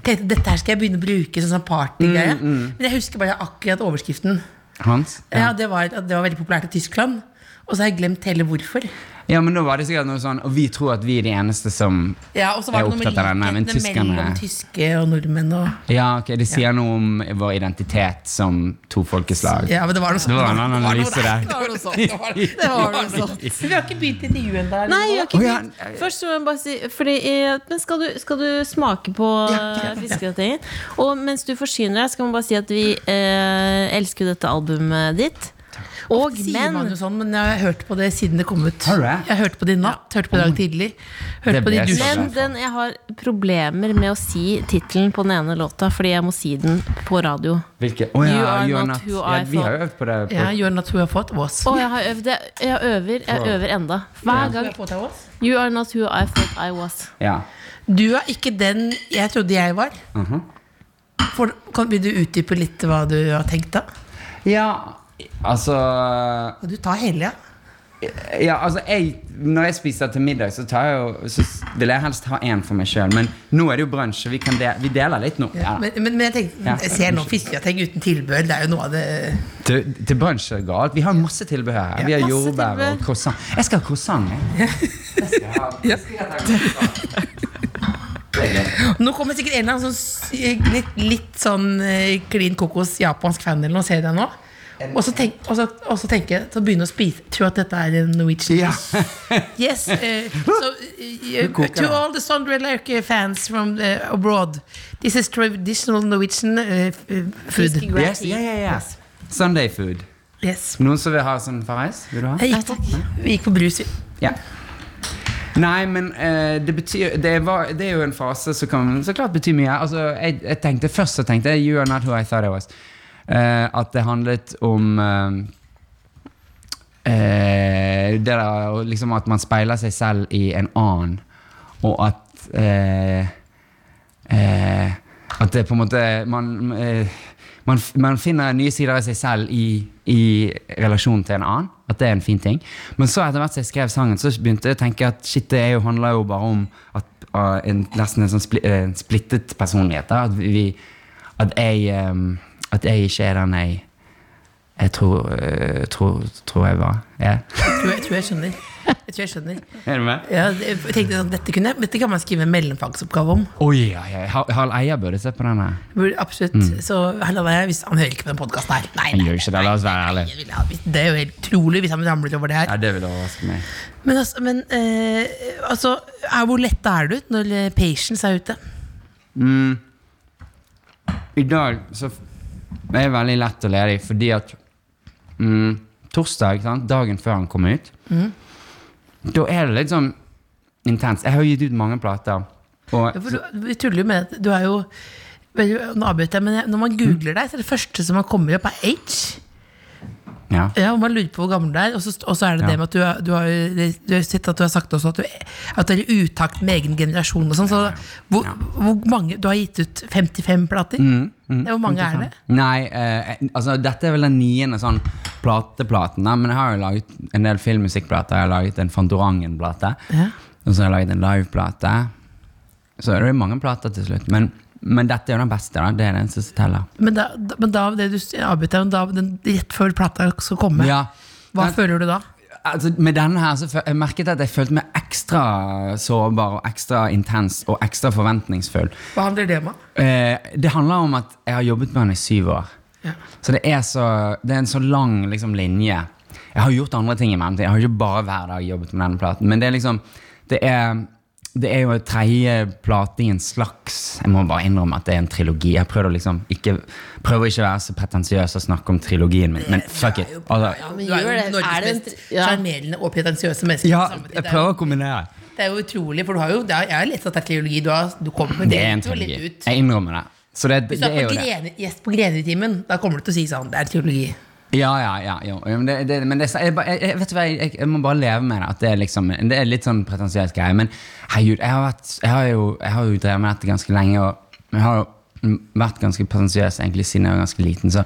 tenkte dette her skal jeg begynne å bruke som sånn
Mm,
partygreie. Men jeg husker bare akkurat overskriften.
Hans?
Ja,
Ja.
det var, at det var veldig populært i Tyskland. Og så har jeg glemt hele hvorfor.
ja, men da var det sikkert noe sånn Og vi tror at vi er de eneste som
Ja, og så var det
Jeg er
noe med
opptatt av denne, men
likhetene
tyskerne-
mellom tyske og nordmenn og
Ja, ok, det sier noe om vår identitet som to folkeslag.
Ja, men det var noe sånt.
Det var en annen
noe
analyse der.
Det var noe sånt. Det var, det var noe sånt. Men vi har ikke begynt intervjuet ennå.
Nei, jeg har ikke
Å, ja.
begynt. Først må jeg bare si fordi, eh, Men skal du, skal du smake på eh, fiskegratingen? Og mens du forsyner deg, skal man bare si at vi eh, elsker jo dette albumet ditt. Og
Sier
men
man jo sånn, men jeg har hørt på det siden det kom ut.
Har du det?
Jeg hørte på det i natt, hørte på det i dag tidlig. Hørte
Det
på det i
ble
dusjen.
Men
Skjønner.
den, jeg har problemer med å si tittelen på den ene låta, fordi jeg må si den på radio.
Hvilke? Å
You
ja,
are
you are
not
not.
who
Ja,
I
vi har
thought.
jo øvd på det. På.
Ja, You're not who I thought was.
Å, jeg har øvd. Jeg, jeg øver. Jeg øver enda. Hver gang. You are not who I thought I was.
Ja.
Du er ikke den jeg trodde jeg var.
Uh-huh.
For, kan, vil du utdype litt hva du har tenkt da?
ja, altså
Kan du ta hele, ja?
Ja, altså jeg, Når jeg spiser til middag, så, tar jeg jo, så s- vil jeg helst ha én for meg sjøl. Men nå er det jo brunsj, så vi, kan de, vi deler litt nå. Ja.
Men, men, men jeg tenkte,
Ja.
jeg ser nå fiskegrateng uten tilbør. Det er jo noe av det
Til, til brunsj er det galt. Vi har masse tilbehør her. vi har
Masse
jordbær og
tilbehør.
croissant. Jeg skal ha croissant. Jeg. Jeg skal ha- jeg skal ha croissant.
Nå kommer sikkert en eller annen sånn sy- litt, litt sånn eh, klin kokos japansk fan eller noe, ser jeg nå. Og så, tenk, og, så, og så tenker jeg, så begynner jeg å spise Tror at dette er en Norwegian
Ja.
Yes, eh, so eh,
koker
To
det.
all the Sondre Lerche fans from eh, abroad This is traditional Norwegian eh, f- eh, food
Yes, yeah, yeah, yeah. Sunday food.
Yes
Noen som vil ha sånn farris? Vil du ha?
Jeg gikk på, vi gikk på brus vi.
Ja. Nei, men eh, det betyr det, var, det er jo en fase som kan så klart bety mye. Altså, jeg, jeg tenkte Først så tenkte jeg You are not who I thought I was. Eh, at det handlet om eh, eh, Det der og liksom at man speiler seg selv i en annen, og at eh, eh, At det på en måte man, eh, man, f- man finner nye sider av seg selv i, i relasjon til en annen. At det er en fin ting. Men så etter hvert som jeg skrev sangen, så begynte jeg å tenke at shit, det er jo, handler jo bare om at, ah, en, nesten en sånn spli, eh, en splittet personlighet. Da. At, vi, at, jeg, ehm, at jeg ikke er den jeg jeg tror, eh, tror, tror jeg var. Ja.
tror jeg, tror jeg skjønner Jeg tror jeg skjønner
Er du med?
ja, Jeg tenkte sånn, dette, kunne, jeg- dette kan man skrive en mellomfagsoppgave om
Oi, ja, ja. Har- Harald Eia burde se på denne.
Burde- Absolutt Så hallo, jeg, hvis, han hører ikke på den podcasten her Nei,
Mm. Han
nei,
gjør ikke det, la oss være ærlige.
Jeg ville ha- Det er jo helt utrolig hvis han ramler over det her.
Ja, det vil overraske meg.
Men, altså, men eh, altså, er, hvor lett er du når eh, patience er ute?
I dag så f- er jeg veldig lett og ledig fordi at mm, Torsdag, ikke sant? dagen før han kom ut,
Mm.
da er det litt sånn intenst. Jeg har gitt ut mange plater. Og,
Ja, for du, vi tuller jo med at du er jo vel, Nå avbryter jeg, men jeg- når
Mm.
man googler deg, så er det første som kommer opp, er H.
ja.
Ja, og Man lurer på hvor gammel du er, og så, og så er det
Ja.
det med at du, har- du, har, jo- du har jo sett at du har sagt også at du, at du er i utakt med egen generasjon og sånn. Så hvor, hvor mange Du har gitt ut 55 plater?
Mm,
Ja, hvor mange er det?
Nei, eh, altså dette er vel den niende sånn plateplaten, da, men jeg har jo laget en del filmmusikkplater. Jeg har laget en Fantorangen-plate.
Ja.
Og så har jeg laget en liveplate. Så er det jo mange plater til slutt. Men, men dette er jo den beste. da. Det er den som teller.
Men da, da, men da det du s- avbryter, men da den, rett før plata skal komme,
Ja.
hva
Den-
føler du da?
Altså, med denne her så fø- jeg merket at jeg følte meg ekstra sårbar og ekstra intens og ekstra forventningsfull.
Hva handler det om? da?
Eh, det handler om at jeg har jobbet med han i syv år. Så det er, så, det er en så lang liksom, linje. Jeg har gjort andre ting i mellomtiden. Jeg har ikke bare hver dag jobbet med denne platen. Men det er liksom Det er, det er jo en tredje plate i en slags Jeg må bare innrømme at det er en trilogi. Jeg prøver å liksom ikke Prøver ikke å være så pretensiøs og snakke om trilogien min, men fuck it. Altså,
men
Du er
gjør
jo
det. Er
Norges
det en
mest
tr- ja.
sjarmerende og pretensiøse menneske.
ja,
på samme tid.
jeg
Det er jo-
prøver å kombinere.
Det er jo utrolig, for du har jo, det er, jeg har lest at det er teologi du har du kommer med.
Det er en
høres jo litt
trilogi.
ut.
Jeg innrømmer det. Så det,
Hvis
det
du
er
er
jo
på
det.
grene, gjest på Grenetimen, da kommer du til å si sånn, det er teologi.
Ja, ja, ja. Jo. Ja, Men, det, det, men det, jeg, bare- jeg, jeg, vet du hva, jeg, jeg må bare leve med det. At det, er liksom, det er litt sånn pretensiøs greie. Men herregud, jeg har, vært, jeg, har jo, jeg har jo drevet med dette ganske lenge. Og jeg har jo vært ganske pretensiøs egentlig siden jeg var ganske liten. Så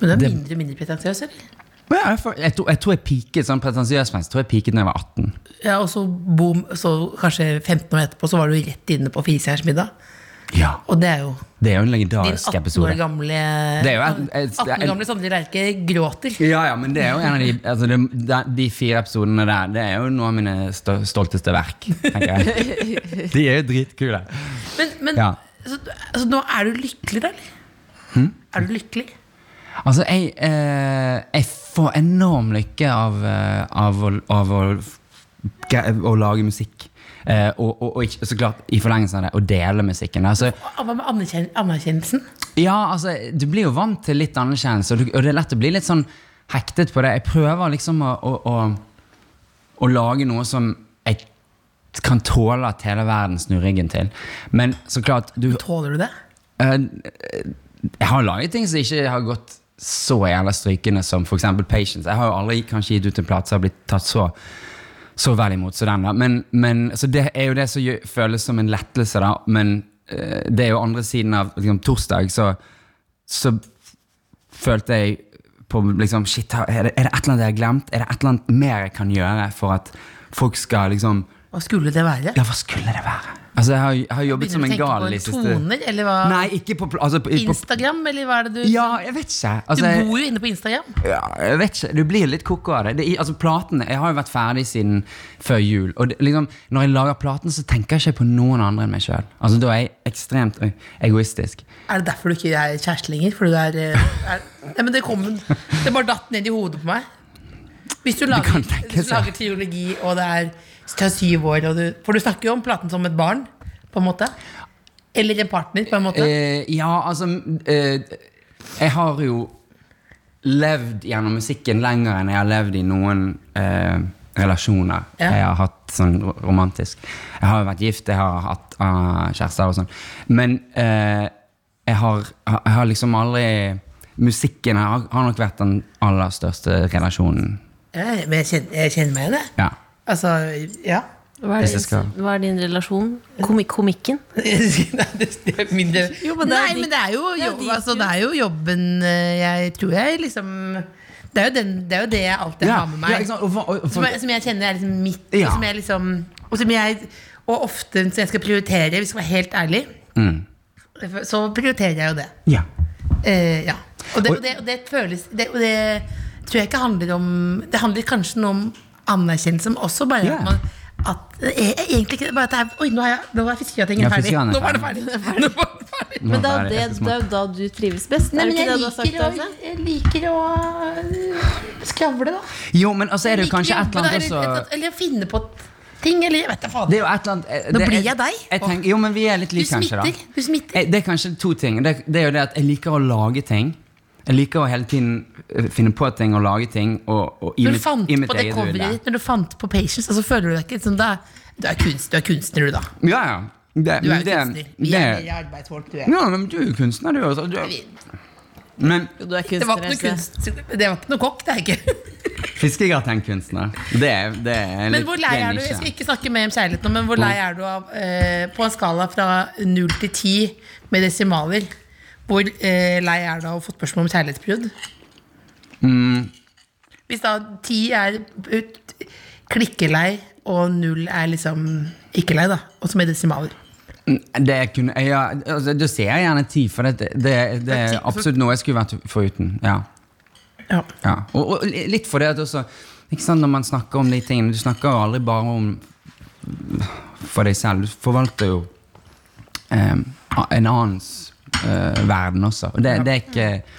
Men du er mindre og mindre pretensiøs, eller?
Men jeg, får- jeg, tror, jeg tror jeg piket sånn pretensiøs-messig. Jeg tror jeg piket da jeg var 18.
Ja, og så boom, så kanskje 15 år etterpå så var du rett inne på Firestjerners middag.
Ja,
Og det er jo
Det er jo en
din
legendarisk
18 år
episode.
gamle
Det er jo et- et-
18 år gamle Sondre Lerche gråter.
Ja, ja, men det er jo en av de altså, de, de- de fire episodene der. Det er jo noen av mine stol- stolteste verk. tenker jeg. De er jo dritkule.
Men, men
Ja.
så, altså, nå er du lykkelig, da? eller?
Hm?
Er du lykkelig?
Altså, jeg, eh, jeg får enorm lykke av, eh, av, å, av å, ge- å lage musikk. Eh, og, og, og ikke, så klart, i forlengelsen av det, å dele musikken. Altså,
Og Hva med anerkjenn, anerkjennelsen?
ja, altså, du blir jo vant til litt anerkjennelse, og, du, og det er lett å bli litt sånn hektet på det. Jeg prøver liksom å, å, å, å lage noe som jeg kan tåle at hele verden snur ryggen til. Men så klart du,
Tåler du det?
Eh, Jeg har laget ting som ikke har gått så jævla strykende som f.eks. Patience. Jeg har jo aldri kanskje gitt ut en plate som har blitt tatt så så vel imot som den. da. Men, men, så det er jo det som gjø- føles som en lettelse, da. Men eh, det er jo andre siden av liksom, torsdag, så, så følte jeg på liksom, Shit, har- er det, er det et eller annet jeg har glemt? Er det et eller annet mer jeg kan gjøre for at folk skal liksom
Hva skulle det være?
Ja, hva skulle det være? Altså, jeg har, jeg har jobbet som
Begynner du
en
å tenke
gal
på
de
en
siste
toner, eller hva?
Nei, ikke på, pl- altså, på, på
Instagram, eller hva er det du
ja, jeg vet ikke. Altså,
Du bor jo inne på Instagram.
ja, jeg vet ikke. Du blir litt koko av det. det er- altså, platene, Jeg har jo vært ferdig siden før jul. Og det, liksom, når jeg lager platen, så tenker jeg ikke på noen andre enn meg sjøl. Altså, da er jeg ekstremt ø, egoistisk.
Er det derfor du ikke er kjæreste lenger? Fordi du er, eh, er Nei, men det kom Det bare datt ned i hodet på meg. Hvis du lager,
kan tenkes,
hvis du lager teologi, og det er tar syv år og du, For du snakker jo om platen som et barn, på en måte. Eller en partner, på en måte.
Eh, ja, altså eh, Jeg har jo levd gjennom musikken lenger enn jeg har levd i noen eh, relasjoner
Ja.
jeg har hatt sånn ro- romantisk. Jeg har jo vært gift, jeg har hatt ah, kjærester og sånn. Men eh, jeg, har, jeg har liksom aldri Musikken har, har nok vært den aller største relasjonen.
Ja, men jeg kjenner, jeg kjenner meg igjen, jeg.
Ja.
Altså, ja.
Hva er,
Hvis
din,
jeg skal-
hva er din relasjon? Komi komikken?
Nei, det det er mindre
Jo, men det er
Nei,
ditt-
men det er jo,
er
jobb,
ditt
altså, det er jo jobben eh, jeg tror jeg liksom Det er jo, den, det, er jo det jeg alltid
Ja,
har med meg.
ja, ikke sant? Og hva- og-
som, jeg, som jeg kjenner er liksom mitt.
Ja.
Og, som jeg liksom, og som jeg Og ofte når jeg skal prioritere, hvis jeg skal være helt ærlig,
Mm.
så prioriterer jeg jo det.
ja.
Eh, ja. Og det,
Og-
og det, og det føles det, Og det tror jeg ikke handler om Det handler kanskje noe om anerkjennelse, men også bare
Ja.
at man at, eh, egentlig ikke bare at det er, Oi, nå, har jeg, nå er
Ja,
fiskegratingen ferdig.
fiskegraten er
Nå var det ferdig. Nå var det ferdig.
Men det
Nå
er
er
jo
jeg
det,
så
det
smart.
er jo da du trives best.
Nei,
er
men
det ikke
jeg
det du har sagt?
liker, å,
Else?
jeg liker å øh, skravle, da.
Jo, men også er det jo
Liker
kanskje
å
et eller
jobbe,
annet
da,
også
Eller, eller finne på ting, eller jeg vet da faen.
Det er jo et eller annet eh,
Nå
det-
blir jeg deg.
Jeg tenker, jo, men vi er litt
Du
like, kanskje. da.
smitter, du smitter.
Eh, Det er kanskje to ting. Det, det er jo det at jeg liker å lage ting. Jeg liker å hele tiden eh, finne på ting og lage ting. Og, og i
Når du
mitt,
fant
i mitt
på det
eget hode.
coveret ditt, når du fant på Patience, altså, føler du deg ikke som da Du er kunst- du er kunstner, du, da.
Ja, ja. Det,
Du er jo
det-
kunstner. Vi
det-
er mer arbeidsfolk, du er.
ja, men du er jo kunstner, du. Også. du
Vi-
men
Jo, Du er
Det var ikke noe
kunstner. Else.
kunst Det var ikke noe kokk, det er ikke.
fiskegratenkunstner, det, er- det er litt
Men hvor lei
det
er du?
nisje.
Jeg skal ikke snakke mer om kjærlighet nå, men hvor lei er du av eh, På en skala fra null til ti med desimaler, hvor eh, lei er du av å få spørsmål om kjærlighetsbrudd? Hvis da ti er ut, klikkelei, og null er liksom ikke lei, da, også med desimaler.
Det kunne, ja, altså, da sier jeg gjerne ti, for det, det, det er
Ja, ti, for-
absolutt noe jeg skulle vært foruten. Ja.
Ja.
Ja. Og, og li- litt for det at også ikke sant, Når man snakker om de tingene Du snakker jo aldri bare om for deg selv. Du forvalter jo eh, en annens eh, verden også. Og det, det, er ikke,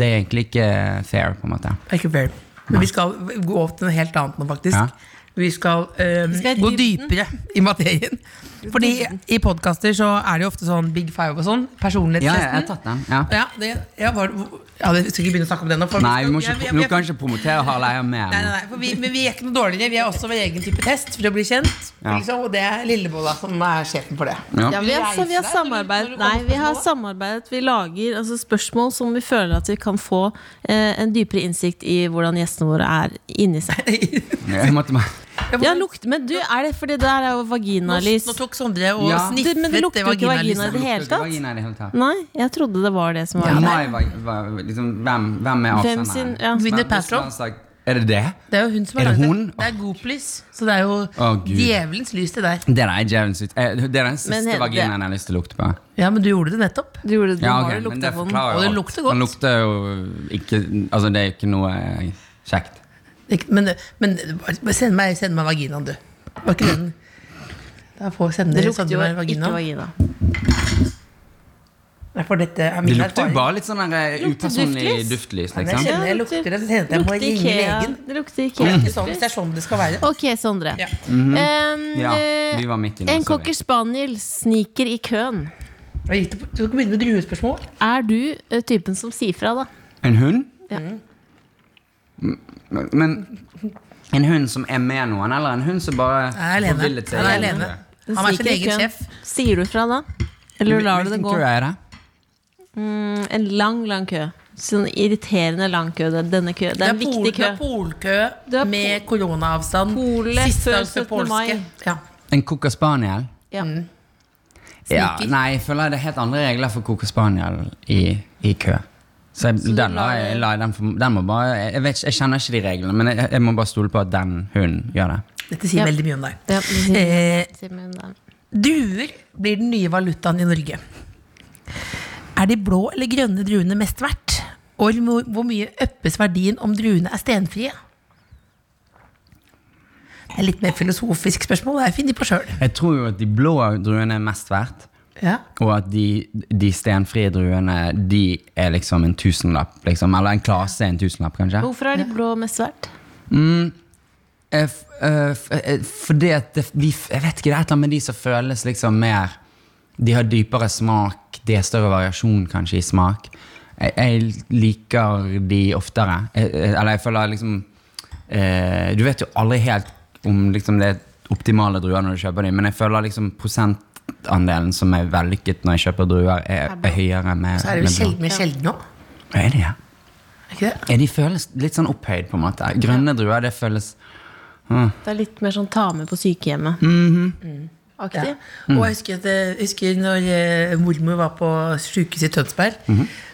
det er egentlig ikke fair, på en måte.
Det er ikke fair. Men vi skal gå opp til noe helt annet nå, faktisk.
Ja.
Vi skal, eh,
skal i
gå
dybden.
dypere i materien. Fordi i podkaster så er det jo ofte sånn big five og sånn.
Ja, jeg har
Personlighetstesten.
tatt den. Ja.
Ja, det, ja, var, ja, det- vi skal ikke begynne å snakke om det nå. for
Nei, vi må
skal-
ikke,
jeg-
nå
jeg-
kan vi ikke promotere Harald Eia mer.
Nei, nei, nei, for vi, men vi er ikke noe dårligere. Vi er også vår egen type test for å bli kjent.
Ja.
Liksom, og det er Lillebolla som er sjefen for det.
Ja,
Ja.
vi har, så vi har
Reise deg, når du
samarbeidet
kommer
Nei, vi har
spørsmålet.
samarbeidet. Vi lager altså, spørsmål som vi føler at vi kan få eh, en dypere innsikt i hvordan gjestene våre er inni seg.
Jeg måtte bare
Ja, lukt, men du, er det fordi det der er jo vaginalys?
Nå tok Sondre og
Ja.
sniffet
Du, men det lukter jo ikke
vaginalyset.
vagina i det hele
Lukter ikke
tatt?
vagina i det hele tatt.
Nei, jeg trodde det var det som var
Ja,
det.
Mai var, var, liksom, hvem, hvem er
Hvem
avsenderen?
sin ja.
Vinner
Men hvis
Paltrow?
man har sagt, Er det det?
Det er jo hun som
Er
har
det
laget
hun?
det. Det er Goplys. Så det er jo
Å, Gud.
djevelens lys, det der.
Det der er djevelens ut. eh, Det er den
Men
siste
heter det-
vaginaen jeg har lyst til å lukte på.
Ja, men du gjorde det nettopp.
Du gjorde det, du
Ja, ok,
har jo
men
lukta
det
på den.
forklarer jo
Og det
alt.
lukter godt.
Den lukter jo ikke Altså, det er jo ikke noe eh, kjekt.
Ikke- Men, men bare- bare send meg, send meg vaginaen, du. Var ikke den Da får sende
Det lukter
sende
jo
meg
ikke
vaginaen.
vagina.
Nei, For dette er
Det
min
lukter jo
erfaring.
bare litt sånn der, eh,
Lukter
upersonlig
duftlys.
duftlys,
Nei, jeg kjenner
liksom.
jeg
Ja,
lukter det, så kjenner jeg at jeg må
Lukter
ringe
Ikea.
legen.
Det lukter
Det er ikke sånn, hvis
Ikea.
det er sånn Mhm. det skal være.
Ok, Sondre.
Ja.
En,
Ja,
eh,
vi var midt inne,
en
sorry.
cocker spaniel sniker i køen.
Jeg gikk det på- Du kan begynne med druespørsmål.
Er du eh, typen som sier fra, da?
En hund?
Ja.
Mm, Men en hund som er med noen, eller en hund som bare
Jeg er alene.
forvillet seg?
Han er
i
alene.
andre?
Den
Han er
sniker
sin
i
egen
køen.
sjef.
Sier du fra, da? Eller lar du det
Hvilken
gå?
kø er det?
Mm, En lang, lang kø. Sånn irriterende lang kø. Det er denne kø. Det er en
pol-
viktig
Det
kø.
er polkø
Det er pol-
med koronaavstand.
Polet
Siste
før
dag for
17. mai.
polske. Ja.
En cocker spaniel?
Ja.
Ja,
Sniker.
nei, jeg føler det er helt andre regler for cocker spaniel i, i kø. Så, jeg,
du
den, eh,
lar
lar jeg,
det-
lar den, få- den må bare jeg, vet, ikke- jeg kjenner ikke de reglene, men jeg, jeg må bare stole på at den hunden gjør det.
Dette sier
Ja.
veldig mye om deg.
Ja, det sier-
Eh,
sier min da.
Druer blir den nye valutaen i Norge. Er de blå eller grønne druene mest verdt? Og hvor hvor mye øppes verdien om druene er stenfrie? Det er litt mer filosofisk spørsmål. Det har jeg funnet på sjøl.
Jeg tror jo at de blå druene er mest verdt,
Ja.
og at de, de stenfrie druene de er liksom en tusenlapp. Liksom, eller en klase er en tusenlapp, kanskje.
Hvorfor er de blå mest svært?
Eh, f- eh, f- eh, Fordi at det, de, f- Jeg vet ikke, det er et eller annet med de som føles liksom mer De har dypere smak, de har større variasjon kanskje i smak. Jeg, jeg liker de oftere. Eh, eh, Eller jeg føler liksom eh, Du vet jo aldri helt om liksom, det er optimale druer når du kjøper dem, men jeg føler liksom prosentandelen som er vellykket når jeg kjøper druer, er, er høyere med,
Så er det jo
med blå.
sjelden, mer sjelden nå.
Er det, ja?
Er ikke det?
Ja, de føles litt sånn opphøyd, på en måte. Grønne druer, det føles
Det er litt mer sånn ta med på sykehjemmet. Mm. Aktig.
Ja. Mm. Og jeg husker, at, jeg husker når eh, mormor var på sjukehuset i Tønsberg,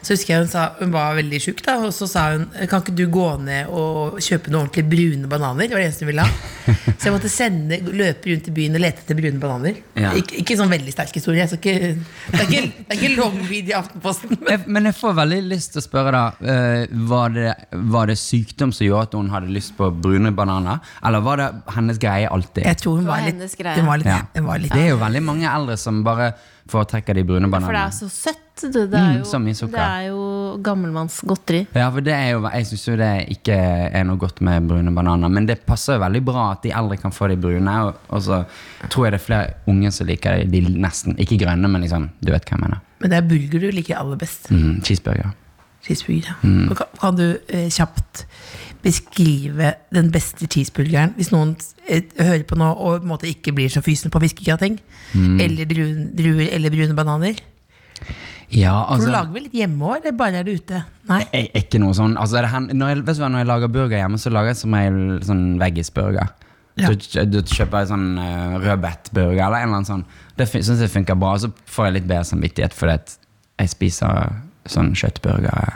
så husker jeg hun sa hun var veldig sjuk, da, og så sa hun kan ikke du gå ned og kjøpe noen ordentlig brune bananer? Det var det eneste hun ville ha. Så jeg måtte sende, løpe rundt i byen og lete etter brune bananer.
Ja.
Ikke, ikke sånn veldig sterk historie. Jeg skal ikke, det, er ikke, det er ikke long video i Aftenposten. Men
jeg, men jeg får veldig lyst til å spørre da eh, var, det, var det sykdom som gjorde at hun hadde lyst på brune bananer? Eller var det hennes greie alltid?
jeg tror hun
Det var
var
hennes
litt,
greie.
hun var litt,
Ja.
hun var litt
Det er jo veldig mange eldre som bare foretrekker de brune
For det
bananene.
er så søtt. Det, det, er,
Mm,
jo,
så mye sukker.
det er jo gammelmannsgodteri.
Ja, for det er jo, Jeg syns jo det ikke er noe godt med brune bananer, men det passer jo veldig bra at de eldre kan få de brune. Og, og så tror jeg det er flere unge som liker de nesten ikke grønne, men liksom, du vet hva jeg mener.
Men det er burger du liker aller best.
Mm, cheeseburger.
Cheeseburger, ja.
Mm.
Og Kan, kan du eh, kjapt beskrive den beste cheeseburgeren, hvis noen eh, hører på nå og på en måte ikke blir så fysen på fiskegrateng?
Mm.
Eller druen- druer eller brune bananer?
Ja,
For du
altså...
lager vel litt hjemme òg, eller bare er det ute? Nei?
Jeg, ikke noe sånn altså, det hen- når, jeg, vet du hva, når jeg lager burger hjemme, så lager jeg som regel sånn veggisburger.
Ja.
Så kjø- da kjøper jeg sånn uh, rødbetburger eller en eller annen sånn. Det fin- synes jeg funker bra. Og så får jeg litt bedre samvittighet fordi at jeg spiser sånn kjøttburger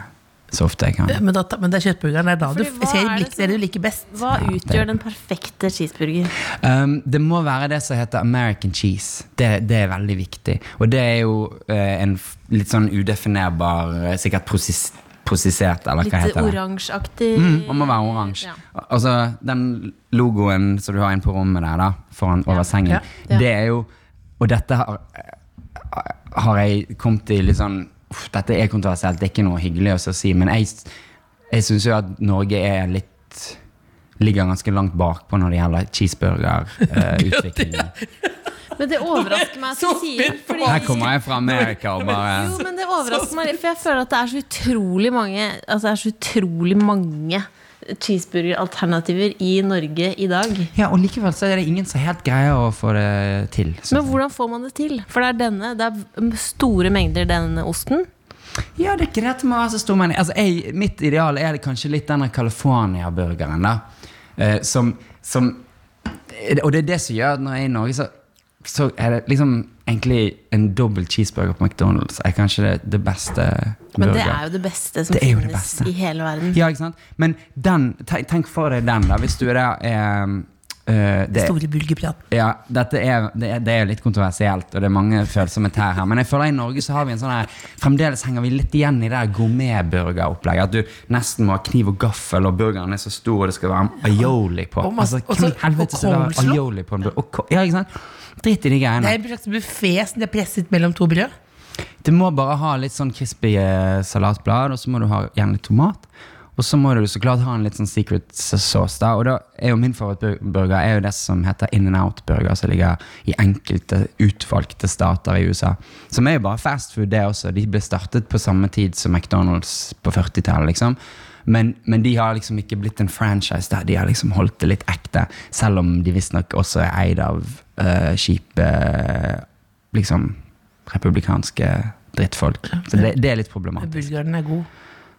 så ofte jeg kan.
Men, da, men det er kjøttburgeren. Det er da du
Fordi hva
ser
er det
lik, det du
som-
liker best.
Hva utgjør den perfekte cheeseburger?
Um, det må være det som heter American cheese. Det, det er veldig viktig. Og det er jo eh, en f- litt sånn udefinerbar eh, Sikkert prosis, prosessert, eller hva
Litt
heter det?
oransjeaktig?
Mm, man må være oransje.
Ja.
Al- Altså, den logoen som du har inne på rommet der, da, foran over sengen,
Ja.
Ja.
det er jo Og dette har, har jeg kommet i litt sånn uff, Dette er kontroversielt, det er ikke noe hyggelig å si, men jeg, s- jeg syns jo at Norge er litt Ligger ganske langt bakpå når det gjelder cheeseburgerutviklingen.
Men det overrasker meg at
Så
du sier
spent på
fordi,
Her kommer jeg fra Amerika og bare
Jo, men det overrasker meg litt, for jeg føler at det er så utrolig mange Altså det er så utrolig mange cheeseburgeralternativer i Norge i dag.
Ja, Og likevel så er det ingen som helt greier å få det til. synes
Men
jeg.
hvordan får man det til? For det er denne, det er store mengder denne osten.
Ja, det er ikke dette med å være så stor men altså, jeg, Mitt ideal er det kanskje litt denne California-burgeren da eh, som, som Og det er det som gjør at når jeg er i Norge så, så er det liksom egentlig en dobbelt cheeseburger på McDonalds er kanskje det, det beste
Men det
burger.
er jo det beste som
Det er jo det
finnes
beste.
i hele verden.
Ja, ikke sant? Men den, tenk, tenk for deg den da Hvis du er der eh, eh, det,
Store bulgerpraten.
ja, dette er, det, er, det er litt kontroversielt, og det er mange følsomme tær her. Men jeg føler i Norge så har vi en sånn her Fremdeles henger vi litt igjen i det der gourmetburgeropplegget. At du nesten må ha kniv og gaffel, og burgeren er så stor, og det skal være en aioli på.
Og masse-
altså, hvem
og så-
i helvete
og
skal det
coleslaw.
være aioli på en burger? Og ko- Ja, ikke sant? Drit i de
Det
greiene.
er en slags buffé som de har presset mellom to brød.
Du må bare ha litt sånn crispy eh, salatblad, og så må du ha gjerne litt tomat. Og så må du så klart ha en litt sånn secret sauce. da, Og da er jo min favorittburger er jo det som heter in and out-burger, som ligger i enkelte utvalgte stater i USA. Som er jo bare fast food, det også. De ble startet på samme tid som McDonald's på 40-tallet. liksom. Men, men de har liksom ikke blitt en franchise der. De har liksom holdt det litt ekte, selv om de visstnok også er eid av eh, kjipe liksom republikanske drittfolk. Så det, det er litt
Men
problematisk.
Bulgeren er god.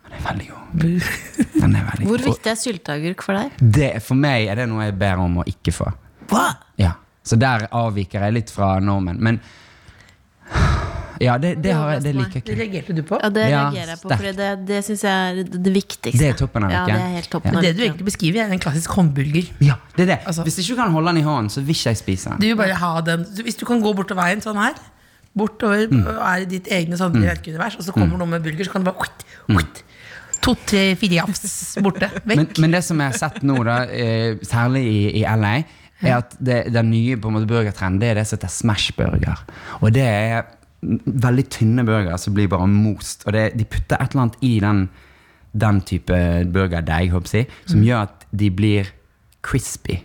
Den er veldig god.
Bu-
Den er veldig
Hvor
god.
viktig er sylteagurk for deg?
Og Det, for meg er det noe jeg ber om å ikke få.
Hva?
Ja. Så der avviker jeg litt fra normen. Men ja, det, det, har jeg, det liker jeg
Det
ikke.
reagerte du på.
Ja, det
Ja,
reagerer jeg på,
sterkt.
for det, det syns jeg er det viktigste.
Det er toppen av
ja,
rekken.
det er helt toppen
Ja.
av
Det du
rekken.
egentlig beskriver, er en klassisk håndbulger.
Ja, det er det.
Altså-
Hvis ikke du kan holde den i hånden, så vil ikke jeg spise den.
Du vil bare ha den du- Hvis du kan gå bortover veien sånn her, bortover
Mm.
og er i ditt egne sånn røykeunivers, og så kommer noen med bulger, så kan du bare ut, ut, To, tre, fire jafs borte. Vekk.
Mm. Men, men det som jeg har sett nå, da, eh, særlig i, i LA, er at det, den nye på en måte burgertrenden det er det som heter smashburger. Og det er n- veldig tynne burgere som blir bare most. Og det, de putter et eller annet i den, den type burgerdeig, håper jeg, som gjør at de blir crispy.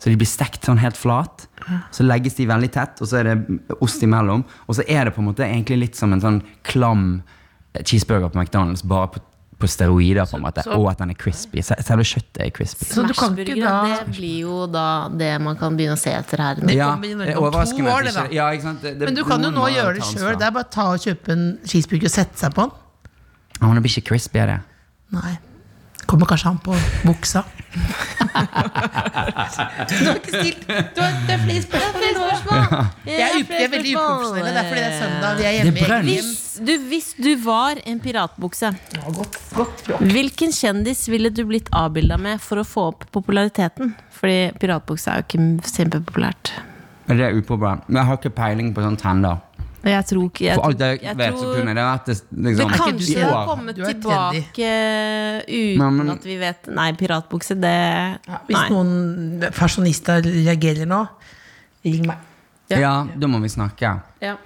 Så de blir stekt sånn helt flat. Så legges de veldig tett, og så er det ost imellom. Og så er det på en måte egentlig litt som en sånn klam eh, cheeseburger på McDonald's, bare på, på steroider, på en måte.
så-
og at den er crispy. Se- Selve kjøttet er crispy.
så du kan ikke
Smashburger,
da
Det blir jo da det man kan begynne å se etter her.
Det
nå.
Ja,
kommer i Norge
det
om
er
to
overraskende
år,
at
det
ikke-
da.
Ja, ikke sant? Det- det-
Men du kan jo
noen
nå
må
gjøre det
ta
sjøl.
ansvar.
Det er bare å ta og kjøpe en cheeseburger og sette seg på den.
Ja, men det blir ikke crispy av det.
Nei. Kommer kanskje han på buksa. du har ikke stilt Du har det er flere spørsmål. Jeg er, up- jeg er veldig uprofesjonell. Det er fordi det er søndag. Vi er hjemme
Det er brunch.
i
Hvis du, hvis du var en piratbukse,
eget godt, godt bra.
hvilken kjendis ville du blitt avbilda med for å få opp populariteten? Fordi piratbukse er jo ikke kjempepopulært.
Men det er upopulært. Men jeg har ikke peiling på sånn trender.
Og Jeg tror ikke jeg,
For alt jeg,
jeg
vet, så
tror-
kunne det vært det, liksom,
det
du
kanskje
ser-
i
har
år.
kommet
Du er
tilbake eh, uten
Nei, men-
at vi vet Nei, piratbukse, det
Hvis
Nei.
noen pensjonister reagerer nå, ring meg.
Ja.
Ja, da må vi snakke.
Ja.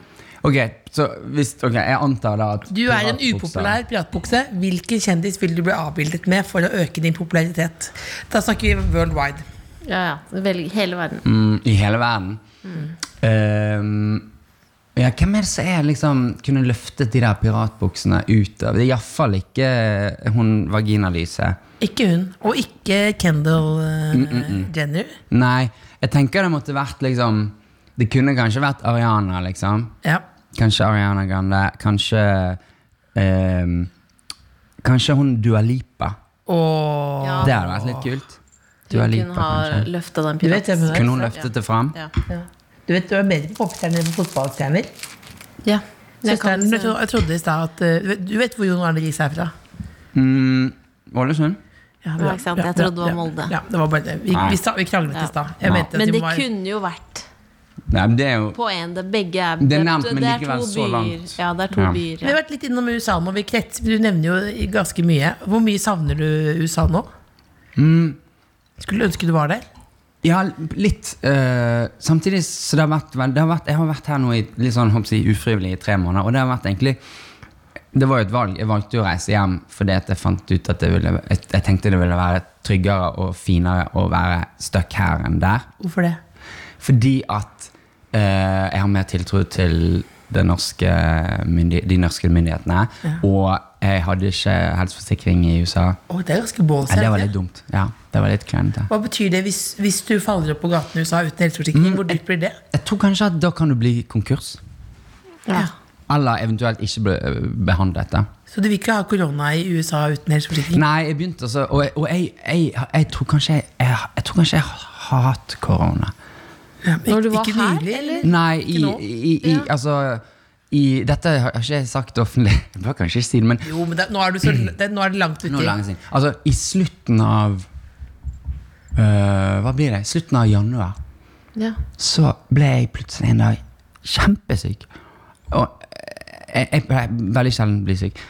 Ok, så hvis, ok, jeg antar da at
Du er en
piratbukser-
upopulær piratbukse. Hvilken kjendis vil du bli avbildet med for å øke din popularitet? Da snakker vi worldwide.
ja, ja. Velg hele verden.
mm, I hele verden Ehm, ja, Hvem er det som er liksom Kunne løftet de der piratbuksene ut av Det er i hvert fall ikke eh, Hun vaginalyse
Ikke hun. Og ikke Kendal Jenner.
Nei, jeg tenker det måtte vært liksom Det kunne kanskje vært Ariana liksom
Ja.
Kanskje Ariana Grande Kanskje ehm, Kanskje hun Dua Lipa
Og
Ja.
Det hadde vært litt kult
Du
Dua
kunne
Lipa
ha
kanskje
løfta den
Du vet hvem hun
piratbuksa.
er?
Kunne hun løftet det fram?
Ja.
Du vet, du er bedre på popstjerner enn på fotballstjerner.
Ja. Jeg
Søsteren,
kan-
jeg, tro- jeg trodde i stad at eh, du vet- Du vet hvor Jon Arne Riis er fra?
Mm, Ålesund?
Ja, ikke sant? Jeg trodde det var Molde.
Ja, det var bare det. Vi,
Nei.
vi, sa- vi kranglet
Ja.
i stad.
Ja.
Jeg mente at
Men
vi
det
var-
kunne jo vært
Nei, men det er jo
på en det Begge er
Det er nevnt, men
det er
likevel
to
så
byer.
langt.
Ja, det er to
Ja.
byer.
Vi har
Ja.
vært litt innom USA nå. Vi krets, du nevner jo ganske mye. Hvor mye savner du USA nå?
Mm.
Skulle ønske du var der.
Ja, litt. eh, samtidig så det har vært, vel- det har vært Jeg har vært her nå i litt sånn, håper jeg, å si, ufrivillig i tre måneder, og det har vært egentlig Det var jo et valg. Jeg valgte jo å reise hjem fordi at jeg fant ut at det ville, jeg, jeg tenkte det ville være tryggere og finere å være stuck her enn der.
Hvorfor det?
Fordi at eh, jeg har mer tiltro til det norske eh, myndig- de norske myndighetene. Og jeg hadde ikke helseforsikring i USA.
Å, det er ganske bås.
Ja, det var
er det ikke?
litt dumt. Ja, det var litt klønete.
Hva betyr det hvis, hvis du faller opp på gaten i USA uten
Mm.
helseforsikring? Hvor dyrt blir det?
Jeg tror kanskje at da kan du bli konkurs.
Ja.
Eller eventuelt ikke bli øh, behandlet. Da.
Så du vil ikke ha korona i USA uten helseforsikring?
Nei, jeg begynte altså Og, jeg- og jeg, jeg, jeg, tror kanskje jeg, jeg, jeg tror kanskje jeg har hatt korona.
Ja, men
Når du var
ikke
her,
nylig,
eller?
Nei, i,
nå?
i, i Altså i, Dette har jeg ikke sagt offentlig. Jeg bør kanskje ikke si det, men
Jo, men det, nå, er du så, det, nå er det langt
nå er det
uti.
lenge siden. Altså, i slutten av øh, Hva blir det? Slutten av januar.
Ja.
så ble jeg plutselig en dag kjempesyk. Og eh, jeg, jeg, jeg veldig sjelden blir syk.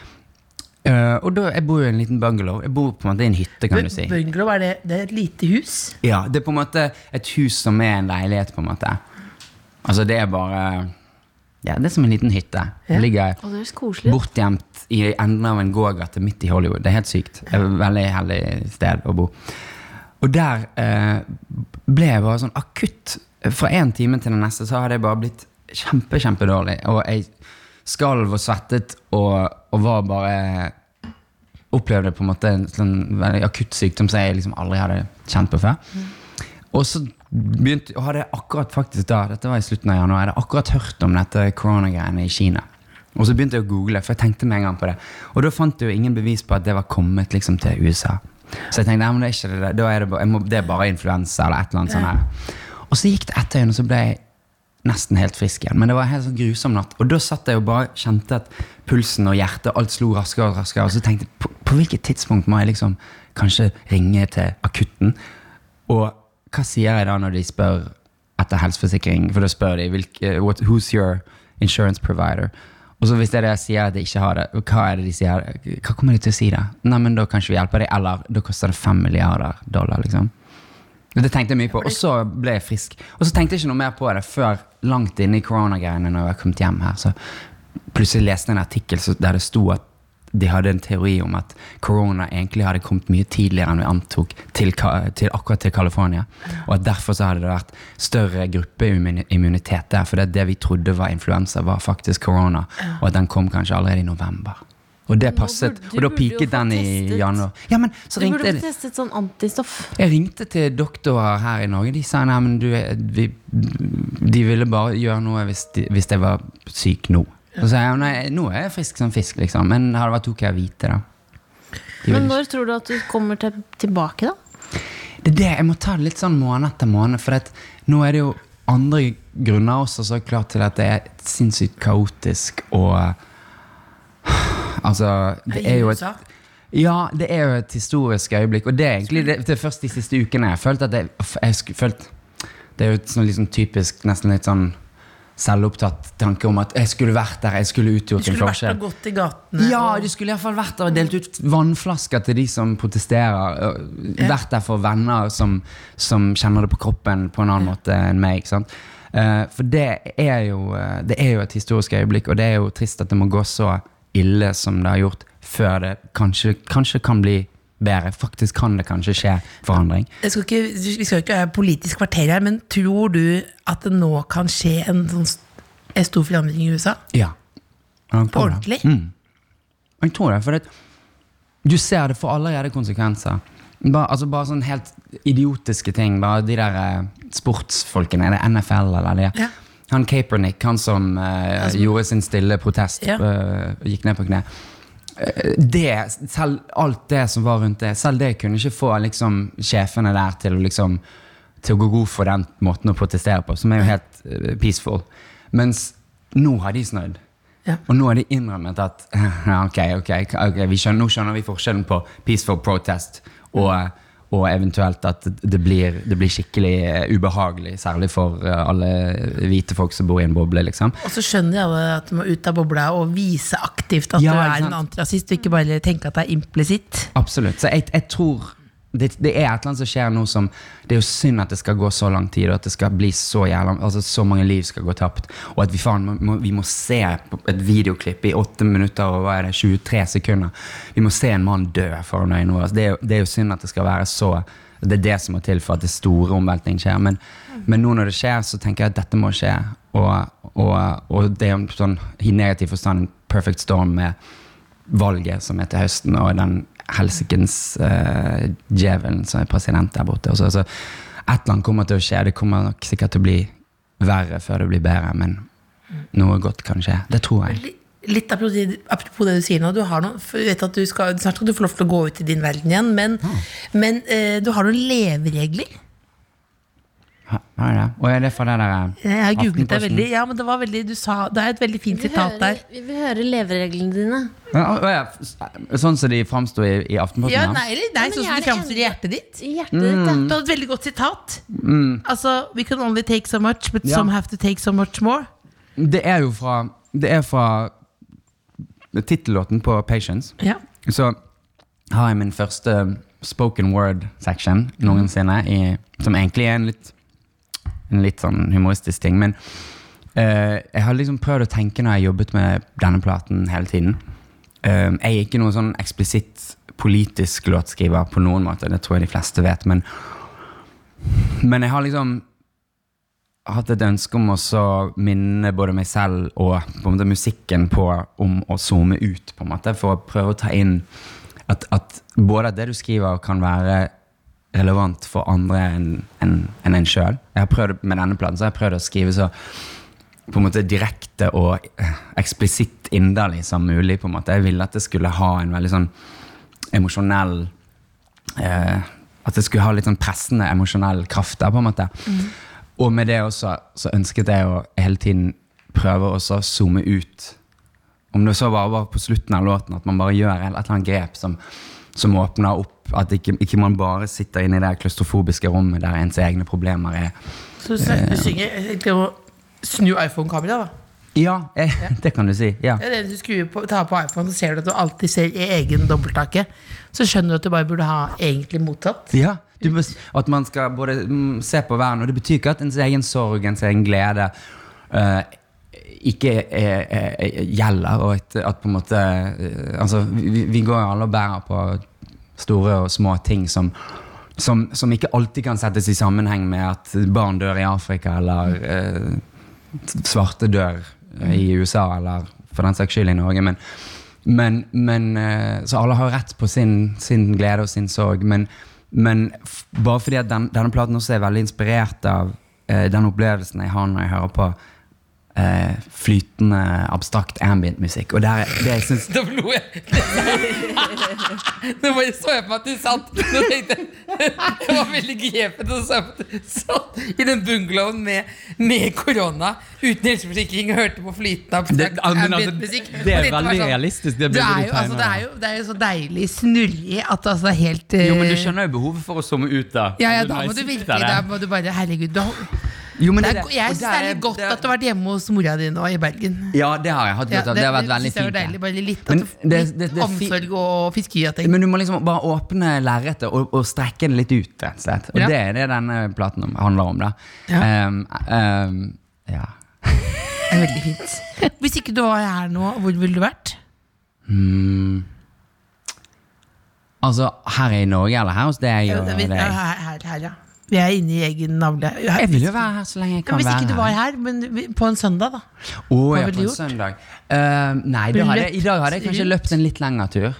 Eh, og da, Jeg bor jo i en liten bungalow. Jeg bor på en måte i en hytte, kan du si.
Bungalow, er det, det er et lite hus?
Ja, Det er på en måte et hus som er en leilighet, på en måte. Altså, det er bare Ja, det er som en liten hytte. Det ligger
Og det høres koselig ut.
bortgjemt i enden av en gågate midt i Hollywood. Det er helt sykt. Det er Et veldig heldig sted å bo. Og der eh, ble jeg bare sånn akutt. Fra én time til den neste så hadde jeg bare blitt kjempe, kjempedårlig. Og jeg skalv og svettet og, og var bare Opplevde på en måte en sånn veldig akutt sykdom som jeg liksom aldri hadde kjent på før. Og så begynte, og hadde jeg akkurat faktisk da, dette var i slutten av januar, jeg hadde akkurat hørt om dette koronagreiene i Kina. Og så begynte jeg å google, for jeg tenkte med en gang på det. Og da fant jeg jo ingen bevis på at det var kommet liksom til USA. Så jeg tenkte, nei, men det er ikke det, der. da er det, bare, jeg må, det er bare influensa eller et eller annet sånt her. Og så gikk det ett døgn, og så ble jeg nesten helt frisk igjen. Men det var en helt sånn grusom natt. Og da satt jeg og bare kjente at pulsen og hjertet alt slo raskere og raskere. Og så tenkte jeg, på, på hvilket tidspunkt må jeg liksom kanskje ringe til akutten? Og hva sier jeg da når de spør etter helseforsikring? For da spør de hvilke, eh, what, who's your insurance provider? Og så hvis det er det jeg sier at jeg ikke har det, hva er det de sier? Hva kommer de til å si da? Nei, men da kan ikke vi hjelpe deg, eller da koster det fem milliarder dollar, liksom. Og Det tenkte jeg mye på, og så ble jeg frisk. Og så tenkte jeg ikke noe mer på det før langt inne i koronagreiene. Når jeg var kommet hjem her Så plutselig leste jeg en artikkel så- der det sto at de hadde en teori om at korona egentlig hadde kommet mye tidligere enn vi antok til, Ka- til akkurat til California. Og at derfor så hadde det vært større gruppeimmunitet der. For det, det vi trodde var influensa, var faktisk korona. Og at den kom kanskje allerede i november. Og det
Nå
passet.
burde- du
Og da
burde jo
piket
få
den i
testet.
januar. Ja, men så
Du
ringte
burde
jeg-
få testet sånn antistoff.
jeg ringte til doktorer her i Norge. De sa nei, men du, er- vi, de ville bare gjøre noe hvis, de, hvis jeg var syk nå. Så sa jeg nei, nå er jeg frisk som fisk, liksom. Men det hadde vært ok å vite, da. De
Men
ville
når tror du at du kommer til, tilbake, da?
ikke- Det er det, jeg må ta det litt sånn måned etter måned, for at, nå er det jo andre grunner også så klart til at det er sinnssykt kaotisk og Altså, det er jo et
USA.
ja, det er jo et historisk øyeblikk. Og det er egentlig det, det er først de siste ukene jeg følte at jeg, jeg sku- følte, Det er jo et sånn liksom typisk, nesten litt sånn selvopptatt tanke om at jeg skulle vært der, jeg skulle
Du
utgjort en
skulle vært
forskjell.
og gått i gatene.
Ja,
og-
du skulle iallfall vært der og delt ut vannflasker til de som protesterer. øh, Vært der for venner som, som kjenner det på kroppen på en annen måte enn meg. ikke sant? Eh, for det er, jo, eh, det er jo et historisk øyeblikk, og det er jo trist at det må gå så ille som det har gjort, før det kanskje, kanskje kan bli bedre. Faktisk kan det kanskje skje forandring.
Jeg skal ikke, vi skal jo ikke ha politisk kvarter her, men tror du at det nå kan skje en sånn st- en stor forandring i USA?
Ja. Jeg
På
tror det.
ordentlig?
Jeg tror det, for det, du ser det får allerede konsekvenser. Bare, altså bare sånn helt idiotiske ting. Bare de der eh, sportsfolkene. Er det NFL eller det?
Ja.
Han Kaepernick, han som eh, gjorde sin stille protest
Ja.
eh, og gikk ned på kne. Eh, Det, selv alt det som var rundt det, selv det kunne ikke få liksom, sjefene der til å liksom til å gå god for den måten å protestere på, som er jo helt eh, peaceful. Mens nå har de snødd.
Ja.
Og nå har de innrømmet at ja, ok, ok, ok, vi skjønner, nå skjønner vi forskjellen på peaceful protest og, og eventuelt at det blir, det blir skikkelig eh, ubehagelig, særlig for eh, alle hvite folk som bor i en boble. liksom.
Og så skjønner alle at du må ut av bobla og vise aktivt at du
Ja, ikke
er
sant?
en antirasist, og ikke bare tenke at det er implisitt.
Absolutt. Så jeg, jeg tror det, det er et eller annet som skjer nå som Det er jo synd at det skal gå så lang tid, og at det skal bli så jævla Altså så mange liv skal gå tapt. Og at vi, faen, må- må, vi må se på et videoklipp i 8 minutter og hva er det, 23 sekunder. Vi må se en mann dø foran øynene våre. Altså, Det er, jo- det er jo synd at det skal være så Det er det som må til for at det store omveltningen skjer. Men, men nå når det skjer, så tenker jeg at dette må skje. Og, og, og det er en sånn, i negativ forstand en perfect storm med valget som er til høsten, og den helsikens eh, djevelen som er president der borte. Og så- så et eller annet kommer til å skje. Det kommer nok sikkert til å bli verre før det blir bedre, men noe godt kan skje. Det tror jeg.
Li- Litt apropos, apropos det du sier nå, du har noen, for jeg vet at du skal, snart skal du få lov til å gå ut i din verden igjen, men, men eh, du har noen leveregler.
Ha, har jeg det? Og er det fra det der eh,
Jeg har googlet deg
Aftenposten?
veldig, ja, men det var veldig, du sa, det er et veldig fint sitat der.
vi vil høre levereglene dine.
Ja, å, ja, Sånn som de framsto i, i Aftenposten?
Ja,
da?
nei, eller, nei
men
sånn
jeg
som
er
det
det
fremstår i hjertet ditt.
I hjertet ditt, da.
Mm.
Du hadde et veldig godt sitat. Altså, we can only take so much, but some have to take so much more.
Det er jo fra, det er fra tittellåten på Patience.
Ja.
Så har jeg min første spoken word-section noensinne, i, som egentlig er en litt, en litt sånn humoristisk ting. Men eh, jeg har liksom prøvd å tenke når jeg har jobbet med denne platen hele tiden. Eh, jeg er ikke noen sånn eksplisitt politisk låtskriver på noen måte, det tror jeg de fleste vet. Men, men jeg har liksom hatt et ønske om å så minne både meg selv og på en måte musikken på om å zoome ut, på en måte, for å prøve å ta inn at, at både at det du skriver, kan være relevant for andre enn enn- enn en sjøl. Med denne planen så har jeg prøvd å skrive så på en måte direkte og eh, eksplisitt inderlig som mulig. på en måte. Jeg ville at det skulle ha en veldig sånn emosjonell eh, At det skulle ha litt sånn pressende emosjonell kraft der, på en måte. Og med det også så ønsket jeg å hele tiden prøve å så zoome ut. Om det så bare var på slutten av låten, at man bare gjør et eller annet grep som, som åpner opp. At ikke, ikke man bare sitter inne i det klaustrofobiske rommet der ens egne problemer er.
Så du, sn- du synger egentlig om å snu iPhone-kameraet, da.
Ja, eh, det kan du si. Ja.
Det er det du skrur på, tar på iPhone, så ser du at du alltid ser i egen dobbeltake. Så skjønner du at du bare burde ha egentlig mottatt.
Ja, du, bes- At man skal både mm, se på verden, og det betyr ikke at ens egen sorg, ens egen glede eh, ikke eh, eh, gjelder. Og at, at på en måte eh, Altså, vi, vi går jo alle og bærer på store og små ting som som, som ikke alltid kan settes i sammenheng med at barn dør i Afrika, eller eh, svarte dør eh, i
Mm.
USA, eller for den saks skyld i Norge. Men, men, men eh, Så alle har rett på sin, sin glede og sin sorg. Men, men f bare fordi at den, denne platen også er veldig inspirert av eh, den opplevelsen jeg har når jeg hører på eh, flytende, abstrakt ambient-musikk. Og der, det jeg syns
Da lo jeg. Nå bare så jeg på meg at du satt Nå tenkte jeg Jeg var veldig grepet og så på at du satt i den bungalowen med, med korona uten helseforsikring og hørte på flytende
Det-
abstrakt
ja, men altså,
ambient-musikk.
det er
Og tenkte bare sånn,
veldig realistisk, det
Det
bildet
er,
du
jo, altså,
tegner
det,
der.
er jo, det er jo så deilig snurrig at altså, det er helt eh,
Jo, men du skjønner jo behovet for å zoome ut, da.
Ja, ja,
Når
da
jeg
må du virkelig
sitter der.
Da må du bare, herregud da,
Jo, men
det
det
er,
er det.
Jeg
Og
syns
der
det er litt
er-
godt
det-
at du har vært hjemme hos mora di nå i Bergen.
Ja, det har jeg hatt.
Ja,
godt av. det, har vært veldig
synes jeg
fint.
var
ja.
deilig, bare litt,
Men
at du-
det-
litt
det- det er fi-
omsorg og fiskeri. at jeg-
Men du må liksom bare åpne lerretet og, og strekke det litt ut. rett og slett. Og
Ja.
det er det denne platen om, handler om. da.
Ja.
Ehm, ehm, ja.
Det er veldig fint. Hvis ikke du var her nå, hvor ville du vært?
Altså, her i Norge eller her hos deg
Ja,
og
vi-
deg?
ja, her, her, her, ja. Vi er inne i egen navle. Her-
Jeg vil jo være her så lenge jeg
Ja,
kan
hvis
være
ikke du var
her.
her, men vi- på en søndag, da.
Å,
hva
ja,
ville
på
du
en
gjort?
søndag. Ehm, nei, da hadde, jeg- i dag hadde jeg kanskje
Løpt
løpt en litt lengre tur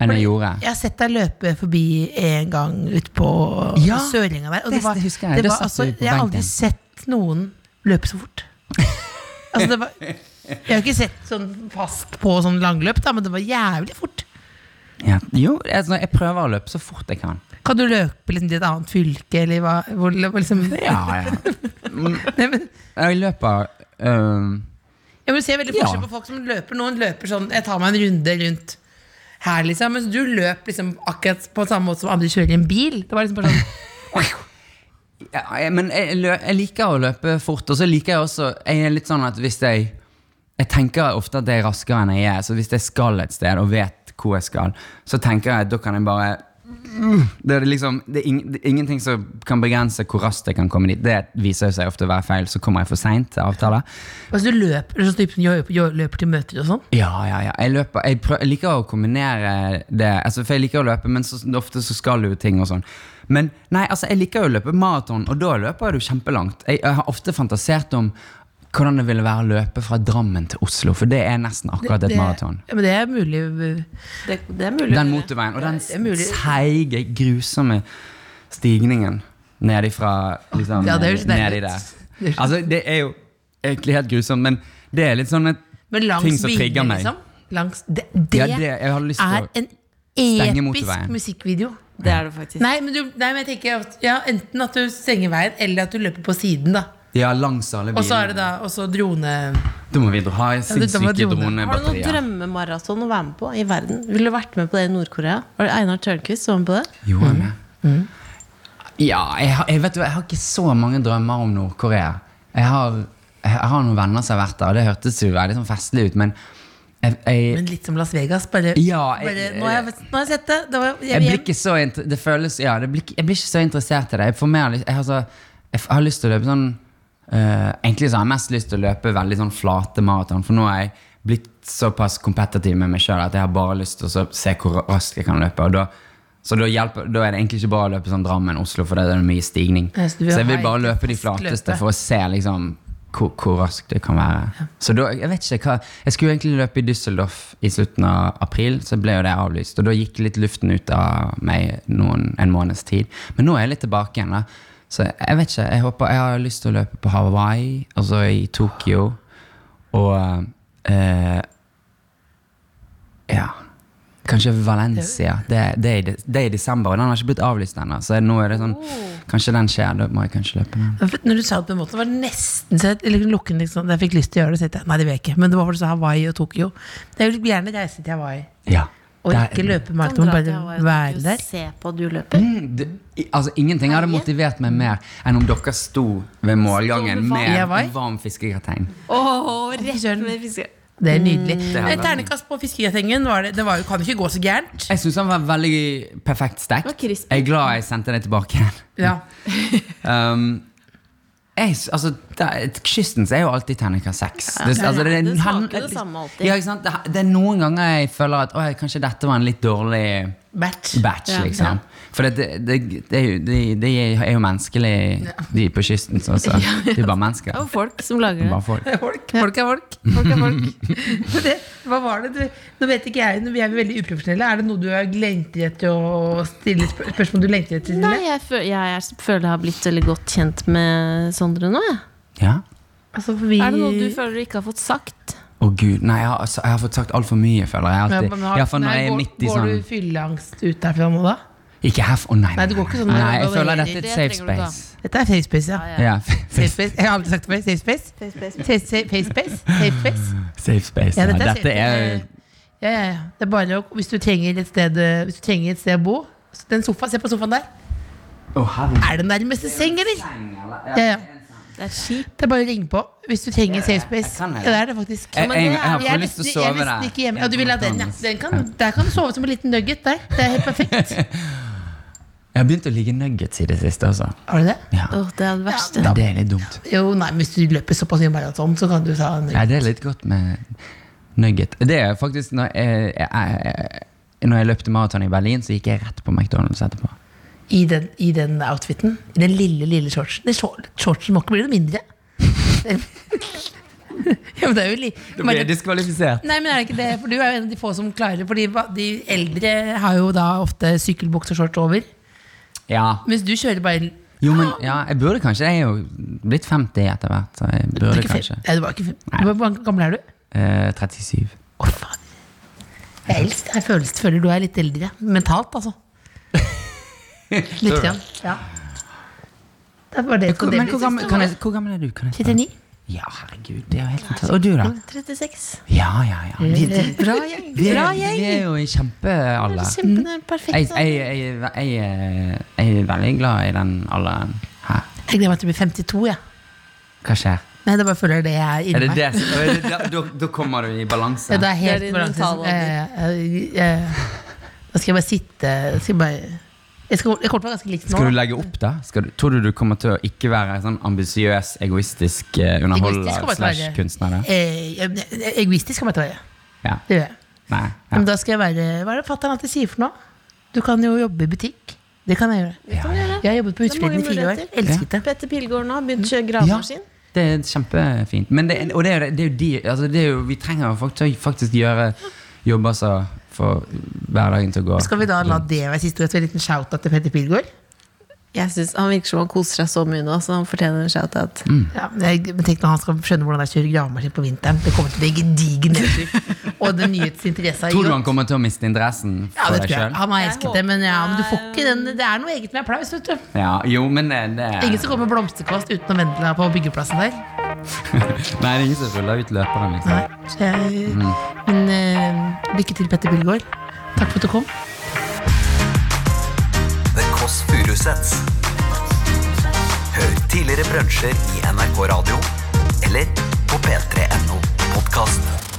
enn jeg gjorde.
Jeg har sett deg løpe forbi en gang ut på
Ja,
Søringa der. Og
det
det var,
husker jeg.
det
Det
var,
satt
altså,
du på
jeg har aldri
benken.
sett noen løpe så fort. Altså, det var, jeg har ikke sett sånn fast på sånn langløp, da, men det var jævlig fort.
Ja. Jo, altså, jeg prøver å løpe så fort jeg kan.
Kan du løpe liksom, til et annet fylke, eller hva? Hvor, hvor, liksom,
Ja, ja.
Nei, men,
ehm, Jeg løper øhm,
Ja, men du ser veldig
Ja.
forskjell på folk som løper. Noen løper sånn Jeg tar meg en runde rundt her, liksom. Mens du løp liksom akkurat på samme måte som andre kjører i en bil. Det var liksom bare sånn
Ja, jeg, men jeg, lø- jeg liker å løpe fort, og så liker jeg også Jeg er litt sånn at hvis jeg Jeg tenker ofte at jeg er raskere enn jeg er, så hvis jeg skal et sted og vet hvor jeg skal, så tenker jeg at da kan jeg bare det er, liksom, det er, ing, det er ingenting som kan begrense hvor raskt jeg kan komme dit. Det viser seg ofte å være feil, så kommer jeg for seint til avtaler.
Altså du løper, sånn typen, jo- jo- løper til møter og sånn.
Ja, ja, ja. Jeg, løper, jeg, prø- jeg liker å kombinere det. Altså, for jeg liker å løpe, men så, ofte så skal du jo ting og sånn. Men nei, altså, jeg liker jo å løpe maraton, og da løper jeg jo kjempelangt. Jeg, jeg har ofte fantasert om hvordan det ville være å løpe fra Drammen til Oslo, for det er nesten akkurat et
Det-
maraton.
Ja, men det er mulig.
Det, det er mulig.
Den motorveien og den
Det er mulig.
seige, grusomme stigningen nedifra liksom,
Ja, det er jo så deilig.
nedi der. Altså, det er jo egentlig helt grusomt, men det er litt sånn et
Men langs
Ting som
vinene,
trigger meg.
Liksom. Langs, det det,
Ja, det- jeg har lyst til
er
å
en
stenge
episk
motorveien.
musikkvideo.
Det er det faktisk.
Nei, men, du, nei, men jeg tenker at, ja, enten at du stenger veien, eller at du løper på siden. da
Ja, langs alle
Og så
bilene.
er det da også drone...
Da må vi dra- ha
må
sinnssyke
drone.
Har du noen
dronebatterier.
drømmemaraton å være med på i verden? Ville du vært med på det i Nord-Korea? Var det Einar Tørnquist som var med på det?
Jo, jeg er med. Ja, jeg, har- jeg vet du, jeg har ikke så mange drømmer om Nord-Korea. Jeg har, jeg har noen venner som har vært der, og det hørtes jo veldig sånn festlig ut, men jeg, jeg,
Men litt som Las Vegas. Bare,
Ja, jeg-
bare nå, har jeg, nå har jeg sett det. det var, jeg,
jeg
vil
blir
hjem.
ikke så inter- det føles, ja, det blir, ikke- jeg blir ikke så interessert i det. Jeg, får mer, lyst- jeg, har, så, jeg f- har lyst til å løpe sånn eh, Egentlig så har jeg mest lyst til å løpe veldig sånn flate maraton, for nå har jeg blitt såpass kompetitiv med meg sjøl at jeg har bare lyst til å så se hvor raskt jeg kan løpe. Og da, så da, hjelper, da er det egentlig ikke bra å løpe sånn Drammen-Oslo, for det er mye stigning.
Ja, så
så,
du vil
jeg vil
ha
bare
et
løpe de
fast løpe.
flateste for å se liksom hvor, hvor raskt det kan være. Så da, Jeg vet ikke hva Jeg skulle egentlig løpe i Düsseldorf i slutten av april, så ble jo det avlyst. Og da gikk litt luften ut av meg noen, en måneds tid. Men nå er jeg litt tilbake igjen. da Så jeg vet ikke. Jeg håper jeg har lyst til å løpe på Hawaii, altså i Tokyo, og eh, Ja. Kanskje Valencia. Det, det, er, i de- det er i desember, og den har ikke blitt avlyst ennå. Så nå er det sånn
Oh.
Kanskje den skjer, da må jeg kanskje løpe den.
Når du sa det på den måten, var det nesten så jeg eller lukken liksom, da jeg fikk lyst til å gjøre det. Så tenkte jeg, nei, det vil jeg ikke. Men det var for du sa Hawaii og Tokyo. Jeg vil gjerne reise til Hawaii
Ja.
og
Der-
ikke løpe
Kan
maraton,
dra til
bare
Hawaii og
være der.
Se på at du løper.
Det, i- altså, ingenting hadde motivert meg mer enn om dere sto ved målgangen
Sto med varm-
Ja,
med
hva?
varm fiskegrateng.
Åh, rett med fiske.
Det er nydelig.
Mm. er
Men
veldig-
Ternekast på fiskegrattengen var det, det var, jo- kan jo ikke gå så gærent.
Jeg syns han var veldig perfekt
Det
stekt.
var
Jeg
crispy.
er glad jeg sendte det tilbake igjen.
Ja.
Um, jeg, s- altså, der, Kystens er jo alltid terningkast seks. Det,
Ja,
altså, det, er
det smaker
han-
det samme alltid.
Ja, ikke sant? Det, det er noen ganger jeg føler at «Oi, kanskje dette var en litt dårlig
Batch.
batch.
Ja.
liksom For det, det, det, det, er jo- de, de er jo menneskelige, de på kysten. Så, så. De er bare
Det
mennesker.
var folk som lager det.
Bare folk.
Folk, folk er folk. folk, er folk. det, hva var det? Du, nå vet ikke jeg, nå- vi er jo veldig uprofesjonelle. Er det noe du har lengter etter å stille spør spørsmål du lengter etter? å
Nei,
stille?
jeg, føl jeg er, føler jeg har blitt veldig godt kjent med Sondre nå. Jeg.
Ja.
Altså, for vi,
Er det noe du føler du ikke har fått sagt?
Å gud, nei, jeg har, altså, jeg har fått sagt altfor mye, føler jeg.
Ja,
Alltid.
men har-
I hvert fall når
nei,
jeg er
går,
midt i
går
sånn
du fylleangst ut derfra nå, da?
Ikke her, f- å nei,
Nei, det går ikke sånn,
Nei,
det
jeg
går veldig-
føler dette er et
det
safe
trenger du ikke
space.
Dette er safe space, ja.
Ja,
Safe space. Jeg har aldri sagt det før. Safe space. Safe space. Safe space. Safe space.
safe space.
Ja,
Ja,
dette er
dette er
safe Ja, ja, ja. Det er bare å, hvis du trenger et sted, eh, hvis du trenger et sted å bo så Den sofaen, Se på sofaen der.
Å, herregud.
Er det nærmeste seng, eller? Ja, ja.
Det er skip.
Det er bare å ringe på hvis du trenger safe space.
kan
Ja,
det.
det er det faktisk.
Jeg, jeg, jeg har
Jeg er
fått lyst til å
nesten- jeg er
sove
nesten
der.
ikke hjemme. Ja, du vil ha den, ja. Den kan, der kan du sove som en liten nugget. Der. Det er helt perfekt.
Jeg har begynt å ligge nuggets i det siste, altså.
Har du det?
Ja.
Åh, det er det verste.
Men det er litt dumt.
Jo, nei, men hvis du løper såpass mye maraton, så kan du ta en
Ja, det er litt godt med nugget. Det er faktisk når jeg, jeg, jeg, når jeg løpte maraton i Berlin, så gikk jeg rett på McDonald's etterpå.
i den, i den outfiten. I den lille, lille shortsen. Den shor- shortsen må ikke bli noe mindre. ja, men det er jo li men,
diskvalifisert.
Nei, men er det ikke det? For du er jo en av de få som klarer det. For de eldre har jo da ofte sykkelbukseshorts over.
Ja.
Mens du kjører bare
Jo, men ja, jeg burde kanskje. Jeg er jo blitt 50 etter hvert, så jeg
du er
burde
ikke fem-
kanskje.
Nei, du var ikke fem. Hvor hvor gammel er du?
Eh, 37.
Å, faen. Jeg, er eldst. jeg føler, føler du er litt eldre. Mentalt, altså. Litt. Grann. Ja. Det var det.
Men hvor Altså, gammel, kan jeg, hvor gammel er du? Kan jeg spørre?
39?
Ja, herregud, det er jo helt fantastisk. Og du, da?
36.
Ja, ja, ja. Vi, vi,
Bra gjeng.
vi,
Bra
er,
gjeng.
vi er jo i kjempealder.
Kjempende,
Jeg,
perfekt.
jeg, jeg, jeg, jeg, jeg er veldig glad i den alderen her.
Jeg gleder meg til å bli 52, jeg.
Hva skjer?
Nei, det bare føler det er
Er
inni
det
meg.
det? som- er det da- Da da kommer du i balanse.
Ja, det er
Det
helt
er din
balanse.
mentale
Eh, eh, eh, Da skal jeg bare sitte skal jeg, bare, jeg, skal, jeg kommer til å være ganske likt nå.
Skal du
da.
legge opp, da? Skal du, tror du du kommer til å ikke være sånn ambisiøs, egoistisk eh,
Egoistisk kommer
underholder
jeg til å
slash
være.
kunstner? da?
Eh, eh, egoistisk kommer jeg til å være.
Ja.
Det gjør jeg.
Nei. Ja.
Men da skal jeg være Hva er det fatter'n alltid sier for noe? Du kan jo jobbe i butikk. Det kan jeg gjøre.
Kan du gjøre
Jeg
det?
har jobbet på
Det er mange
Husfliden i fire år.
muligheter.
Elsket det.
Petter Pilgaard nå har begynt å kjøre
Ja,
gravemaskin.
det er kjempefint. Men det, er- og det er, det er jo de altså det er jo, Vi trenger jo folk til å faktisk gjøre jobber som får hverdagen til å gå
Skal vi da
Mm.
la det være siste ord? Så En liten shout-out til Petter Pilgaard?
Jeg synes Han virker som han koser seg så mye nå, så han fortjener en shout-out.
Mm.
Ja, men jeg- men tenk når han skal skjønne hvordan det er å kjøre gravemaskin på vinteren. Det kommer til å bli gedigen nedtur. Og den nyhetsinteressen
Tror du han kommer til å miste interessen
Ja,
for
det
deg
tror jeg.
sjøl?
Han har elsket det, men, ja, men du får ikke den. Det er noe eget med applaus, vet du.
Ja, jo, men det, det
Ingen som kommer med blomsterkvast uten å vente på byggeplassen der.
Nei, det er ingen som ruller ut løperen, liksom.
Nei, så jeg,
Mhm.
Men eh, lykke til, Petter Pilgaard. Takk for at du kom.
The Kåss Furuseths. Hør tidligere brunsjer i NRK Radio eller på p3.no podkast.